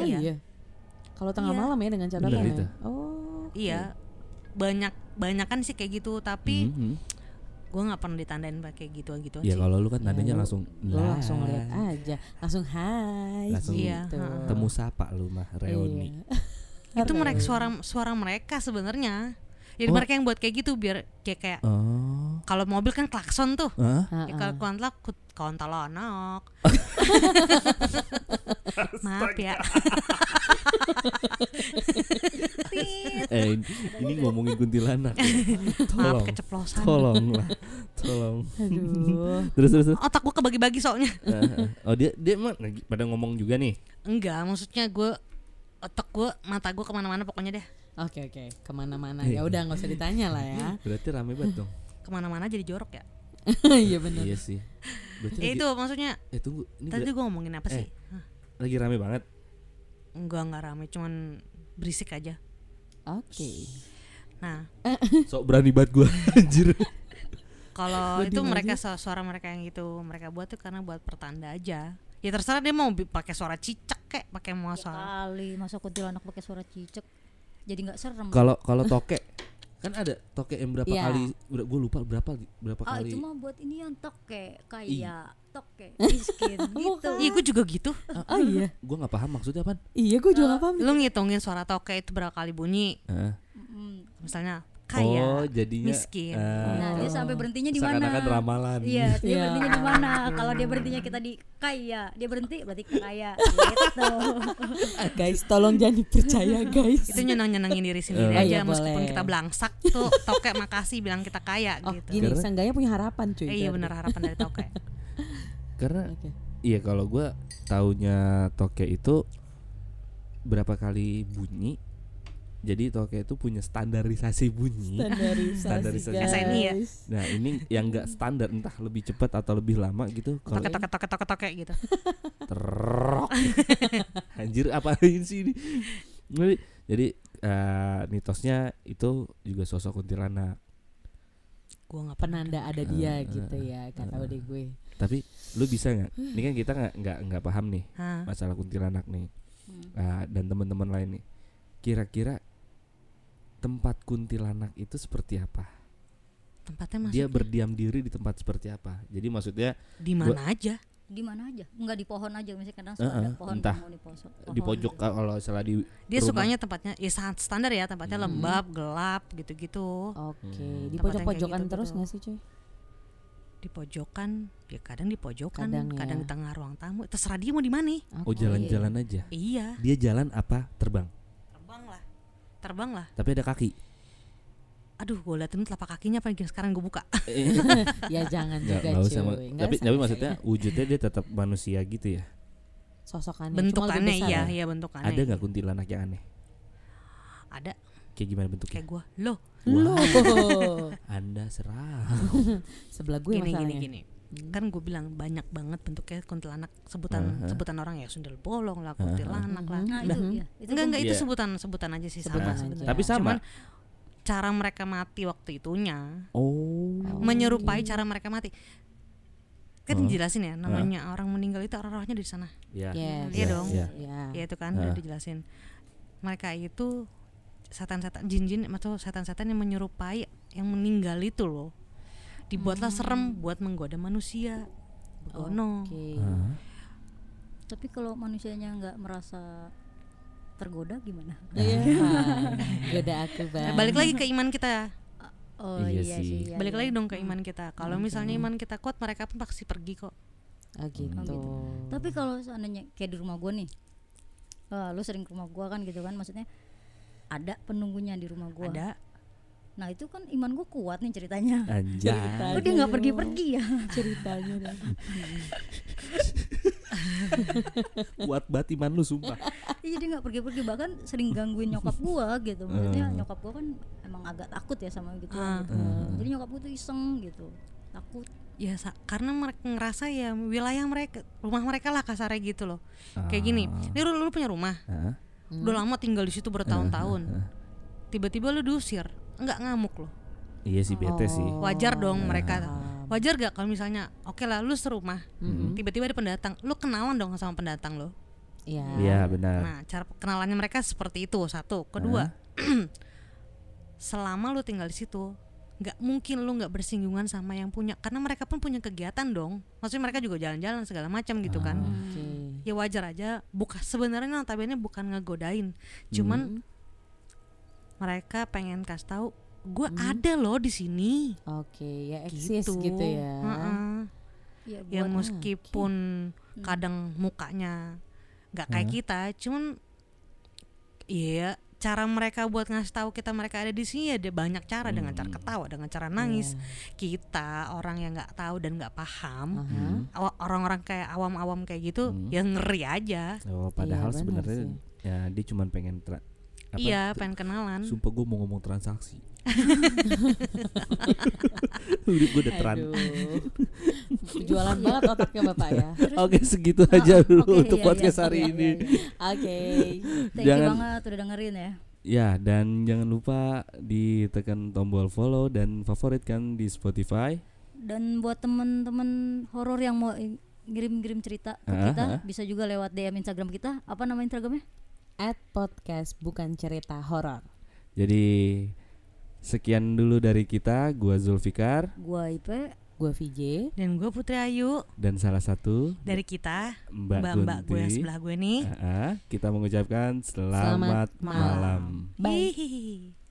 Speaker 4: Iya.
Speaker 2: iya. Kalau tengah
Speaker 4: Iya.
Speaker 2: malam ya dengan catatan
Speaker 1: Iya, gitu.
Speaker 2: ya. Oh. oke.
Speaker 4: iya banyak banyak kan sih kayak gitu tapi
Speaker 1: Mhm.
Speaker 4: gue nggak pernah ditandain pakai gitu gitu
Speaker 1: ya
Speaker 4: aja
Speaker 1: kalau lu kan
Speaker 2: Ya,
Speaker 1: tandanya
Speaker 2: lu-
Speaker 1: langsung
Speaker 2: Lo
Speaker 1: lah.
Speaker 2: langsung "Ah." lihat aja, langsung hai.
Speaker 1: Nah. Langsung
Speaker 4: Iya,
Speaker 2: gitu.
Speaker 4: ha. Ya,
Speaker 1: temu sapa lu mah reuni
Speaker 2: Iya.
Speaker 4: itu mereka suara suara mereka sebenarnya jadi
Speaker 1: Oh.
Speaker 4: mereka yang buat kayak gitu biar kayak kayak
Speaker 1: oh
Speaker 4: kalau mobil kan klakson tuh
Speaker 1: Hah?
Speaker 2: Ha-ha.
Speaker 4: ya kalau kontak kontalonak maaf ya
Speaker 3: Tit.
Speaker 1: ngomongin Eh, ini ngomongin kuntilanak. ya.
Speaker 4: Maaf
Speaker 1: Tolong,
Speaker 4: keceplosan.
Speaker 1: tolong lah, tolong.
Speaker 2: Aduh.
Speaker 1: Terus terus. terus.
Speaker 4: Otak gue kebagi-bagi soalnya.
Speaker 1: Eh, eh. Oh dia dia emang lagi pada ngomong juga nih.
Speaker 4: Enggak, maksudnya gue otak gue, mata gue kemana-mana pokoknya deh.
Speaker 2: Oke oke, kemana-mana
Speaker 1: Iya.
Speaker 2: ya udah nggak usah ditanya lah ya.
Speaker 1: Berarti rame banget dong.
Speaker 4: Kemana-mana jadi jorok ya.
Speaker 2: Iya benar.
Speaker 1: Iya sih. Berarti
Speaker 4: Ya
Speaker 1: lagi-
Speaker 4: itu maksudnya.
Speaker 1: Eh tunggu, ini
Speaker 4: Tadi
Speaker 1: ber-
Speaker 4: gue ngomongin apa
Speaker 1: eh.
Speaker 4: sih? Hah,
Speaker 1: lagi rame banget.
Speaker 4: enggak enggak rame, cuman berisik aja.
Speaker 2: Oke.
Speaker 4: Nah,
Speaker 1: Sok berani banget gua anjir.
Speaker 4: kalau itu mereka su- suara mereka yang gitu mereka buat tuh karena buat pertanda aja. Ya terserah dia mau bi- pakai suara cicak kek, pakai mau
Speaker 3: Ya
Speaker 4: suara
Speaker 3: kali masa kuntilanak pakai suara cicak jadi nggak serem
Speaker 1: Kalau kalau toke kan ada toke yang berapa
Speaker 2: Iya.
Speaker 1: kali gue lupa berapa berapa
Speaker 3: ah
Speaker 1: kali
Speaker 3: itu mah buat ini yang toke
Speaker 1: Ih.
Speaker 3: kaya toke miskin gitu
Speaker 4: Iya gue juga gitu
Speaker 2: Oh iya.
Speaker 1: gue nggak paham maksudnya apa
Speaker 2: Iya gue juga nggak paham.
Speaker 4: Lu ngitungin suara toke itu berapa kali bunyi
Speaker 3: Mm.
Speaker 4: Misalnya
Speaker 1: oh
Speaker 4: kaya
Speaker 1: jadinya
Speaker 4: miskin.
Speaker 1: eh,
Speaker 3: nah dia sampai berhentinya di mana
Speaker 1: seakan-akan ramalan
Speaker 3: Iya, dia
Speaker 2: Iya.
Speaker 3: berhentinya di mana? Kalau dia berhentinya kita di kaya, dia berhenti berarti kaya gitu.
Speaker 2: Guys, tolong jangan dipercaya guys.
Speaker 4: Itu nyenang-nyenangin diri sendiri
Speaker 2: Oh,
Speaker 4: aja
Speaker 2: iya,
Speaker 4: Meskipun
Speaker 2: boleh.
Speaker 4: kita belangsak tuh toke makasih bilang kita kaya
Speaker 2: Oh gitu.
Speaker 4: gitu
Speaker 2: gini,
Speaker 1: Karena-
Speaker 2: seenggaknya punya harapan cuy.
Speaker 4: Eh, Iya
Speaker 2: berarti.
Speaker 4: bener harapan dari toke
Speaker 1: karena
Speaker 2: Oke.
Speaker 1: iya kalau gue taunya toke itu berapa kali bunyi jadi toke itu punya standarisasi
Speaker 4: Iya.
Speaker 1: bunyi
Speaker 2: Standarisasi,
Speaker 1: Standarisasi.
Speaker 2: guys.
Speaker 4: SNI ya?
Speaker 1: nah ini yang nggak standar entah lebih cepat atau lebih lama gitu kalau
Speaker 4: Toke toke toke toke toke gitu
Speaker 1: Terok. Anjir apain sih ini? Jadi, jadi eh, mitosnya itu juga sosok kuntilanak.
Speaker 4: Gue gak pernah
Speaker 2: Penanda ada
Speaker 1: Ah,
Speaker 2: dia gitu ya kata adik gue.
Speaker 1: Tapi lu bisa nggak? Ini kan kita nggak nggak nggak paham nih
Speaker 4: Hah. Hmm.
Speaker 1: masalah kuntilanak nih. Ah, dan teman-teman lain nih. Kira-kira tempat kuntilanak itu seperti apa?
Speaker 4: Tempatnya
Speaker 1: Dia
Speaker 4: masih
Speaker 1: berdiam diri di tempat seperti apa? Jadi maksudnya
Speaker 4: di mana aja
Speaker 3: Di mana aja? Enggak di pohon aja misalnya kadang suka ada
Speaker 1: Heeh,
Speaker 3: pohon
Speaker 1: entah.
Speaker 3: mau di poso-
Speaker 1: di
Speaker 3: pohon.
Speaker 1: pojok kan. kalau salah di
Speaker 4: Oh, gitu. Dia
Speaker 1: rumah.
Speaker 4: sukanya tempatnya ya sangat standar ya Tempatnya lembab, gelap gitu-gitu
Speaker 2: Oke,
Speaker 1: Hmm.
Speaker 2: di
Speaker 4: Tempat yang
Speaker 2: pojok-pojokan
Speaker 4: kayak gitu
Speaker 2: terus
Speaker 4: tuh.
Speaker 2: nggak sih cuy?
Speaker 4: Di pojokan Ya kadang di pojokan
Speaker 2: Kadang
Speaker 4: Kadang,
Speaker 2: ya.
Speaker 4: di tengah ruang tamu Terserah dia mau di mana
Speaker 1: Oh
Speaker 2: Oke.
Speaker 1: jalan-jalan aja.
Speaker 4: Iya
Speaker 1: Dia jalan apa? Terbang.
Speaker 4: Terbang lah Terbang lah
Speaker 1: Tapi ada kaki.
Speaker 4: Aduh gue liatin telapak kakinya apa yang sekarang gue buka
Speaker 2: Kan Ya jangan
Speaker 1: Nggak,
Speaker 2: juga
Speaker 1: nggak
Speaker 2: cuy.
Speaker 1: usah, Ma-
Speaker 2: Nggak
Speaker 1: tapi
Speaker 2: usah,
Speaker 1: tapi
Speaker 2: nggak
Speaker 1: maksudnya
Speaker 2: usah.
Speaker 1: wujudnya dia tetap manusia gitu ya
Speaker 2: sosokannya cuma lebih
Speaker 4: Bentukannya
Speaker 2: besar
Speaker 4: iya
Speaker 2: ya?
Speaker 4: Iya bentukannya iya.
Speaker 1: ada nggak kuntilanak yang aneh
Speaker 4: Ada
Speaker 1: kayak gimana bentuknya
Speaker 4: Kayak gue Loh
Speaker 1: Wah,
Speaker 2: Loh,
Speaker 1: anda serah
Speaker 2: Oh. sebelah gue
Speaker 4: gini gini
Speaker 2: masalahnya. Hmm.
Speaker 4: gini kan gue bilang banyak banget bentuknya kuntilanak sebutan
Speaker 1: Aha.
Speaker 4: sebutan orang ya sundel bolong lah kuntilanak lah
Speaker 3: Nah, itu ya. Itu
Speaker 4: enggak enggak itu
Speaker 1: Iya.
Speaker 4: sebutan sebutan aja sih
Speaker 2: kan Sebutan
Speaker 4: sama
Speaker 2: aja.
Speaker 4: sebenarnya.
Speaker 1: tapi sama
Speaker 4: Cuman cara mereka mati waktu itunya
Speaker 1: oh
Speaker 4: menyerupai cara mereka mati kan dijelasin ya namanya orang meninggal itu arwahnya dari sana
Speaker 1: ya
Speaker 2: Yes.
Speaker 4: Iya dong.
Speaker 1: ya.
Speaker 2: Ya.
Speaker 4: ya itu kan udah
Speaker 1: Ah.
Speaker 4: dijelasin mereka itu setan-setan jin-jin atau setan-setan yang menyerupai yang meninggal itu loh dibuatlah serem buat menggoda manusia begono
Speaker 2: Oke.
Speaker 1: Hah?
Speaker 3: Tapi kalau manusianya nggak merasa tergoda gimana?
Speaker 2: Iya. Goda aku
Speaker 4: Nah,
Speaker 2: bang.
Speaker 4: balik lagi ke iman kita
Speaker 3: Oh
Speaker 1: Iya
Speaker 3: iya,
Speaker 1: sih.
Speaker 3: sih. iya,
Speaker 4: balik
Speaker 3: iya.
Speaker 4: lagi dong ke iman kita kalau misalnya iman kita kuat mereka pun pasti pergi kok
Speaker 2: Oh gitu.
Speaker 3: Tapi kalau seandainya kayak di rumah gue nih, eh, lu sering ke rumah gue kan gitu kan, maksudnya ada penunggunya di rumah gue.
Speaker 4: ada
Speaker 3: Nah itu kan iman gue kuat nih ceritanya.
Speaker 1: anjay
Speaker 3: Kok dia nggak pergi-pergi ya?
Speaker 4: Nah,
Speaker 2: Ceritanya dong.
Speaker 1: kuat banget iman lu sumpah
Speaker 3: Iya dia nggak pergi-pergi bahkan sering gangguin nyokap gua gitu. Maksudnya
Speaker 1: Hmm.
Speaker 3: nyokap gua kan emang agak takut ya sama gitu. gitu. Jadi nyokap gua tuh iseng gitu, takut.
Speaker 4: ya sa- karena mereka ngerasa ya wilayah mereka rumah mereka lah kasarnya gitu loh kayak gini ini lu, lu punya rumah
Speaker 1: Hah?
Speaker 4: udah lama tinggal di situ bertahun-tahun tiba-tiba lu diusir enggak ngamuk loh
Speaker 1: iya sih bete sih
Speaker 4: wajar dong mereka wajar gak kalau misalnya oke lah lu serumah tiba-tiba ada pendatang lu kenalan dong sama pendatang lo
Speaker 2: Iya.
Speaker 1: iya benar
Speaker 4: nah cara kenalannya mereka seperti itu satu kedua selama lu tinggal di situ nggak mungkin lu nggak bersinggungan sama yang punya karena mereka pun punya kegiatan dong maksudnya mereka juga jalan-jalan segala macam gitu kan
Speaker 2: Oke.
Speaker 4: ya wajar aja bukan sebenarnya notabene bukan ngegodain
Speaker 2: Hmm.
Speaker 4: cuman mereka pengen kasih tahu gue ada loh di sini
Speaker 2: Oke, ya Hmm. eksis gitu, ya.
Speaker 4: Heeh.
Speaker 3: Ya,
Speaker 4: ya
Speaker 3: buat-
Speaker 4: meskipun
Speaker 2: Hmm.
Speaker 4: kadang mukanya nggak kayak kita cuman iya cara mereka buat ngasih tahu kita mereka ada di sini ada banyak cara dengan cara ketawa dengan cara nangis
Speaker 2: Iya.
Speaker 4: kita orang yang nggak tahu dan nggak paham
Speaker 2: Iya. Aha.
Speaker 4: awa- orang-orang kayak awam-awam kayak gitu
Speaker 1: Hmm.
Speaker 4: ya ngeri aja
Speaker 1: Oh, padahal
Speaker 2: benar
Speaker 1: sebenarnya
Speaker 2: sih.
Speaker 1: ya dia cuma pengen tra- apa,
Speaker 4: iya
Speaker 1: t-
Speaker 4: pengen kenalan
Speaker 1: Sumpah gue mau ngomong transaksi. Udah gue udah tran.
Speaker 2: Aduh. Jualan banget otaknya Bapak ya.
Speaker 3: Terus-
Speaker 1: Oke segitu
Speaker 3: Oh,
Speaker 1: aja dulu
Speaker 3: oke,
Speaker 1: Eh, untuk
Speaker 3: iya, iya,
Speaker 1: podcast hari
Speaker 3: iya,
Speaker 1: ini.
Speaker 3: iya, iya.
Speaker 2: Oke.
Speaker 3: Thank
Speaker 1: Jangan-
Speaker 3: you banget udah dengerin ya.
Speaker 1: Ya dan jangan lupa ditekan tombol follow dan favoritkan di Spotify.
Speaker 3: Dan buat temen-temen horor yang mau i- ngirim-ngirim cerita ke
Speaker 1: Ah,
Speaker 3: kita
Speaker 1: ah.
Speaker 3: bisa juga lewat DM Instagram kita. Apa nama Instagramnya?
Speaker 2: At podcast bukan cerita horor.
Speaker 1: Jadi sekian dulu dari kita. Gua Zulfikar
Speaker 3: Gua Ipe.
Speaker 2: Gua VJ.
Speaker 4: dan gue Putri Ayu
Speaker 1: dan salah satu
Speaker 4: dari kita
Speaker 1: Mbak,
Speaker 4: mbak-mbak gue yang
Speaker 1: Gunti.
Speaker 4: sebelah gue nih
Speaker 1: Ah, ah. kita mengucapkan selamat,
Speaker 2: Selamat malam.
Speaker 1: malam.
Speaker 2: Bye.
Speaker 4: Hihihi.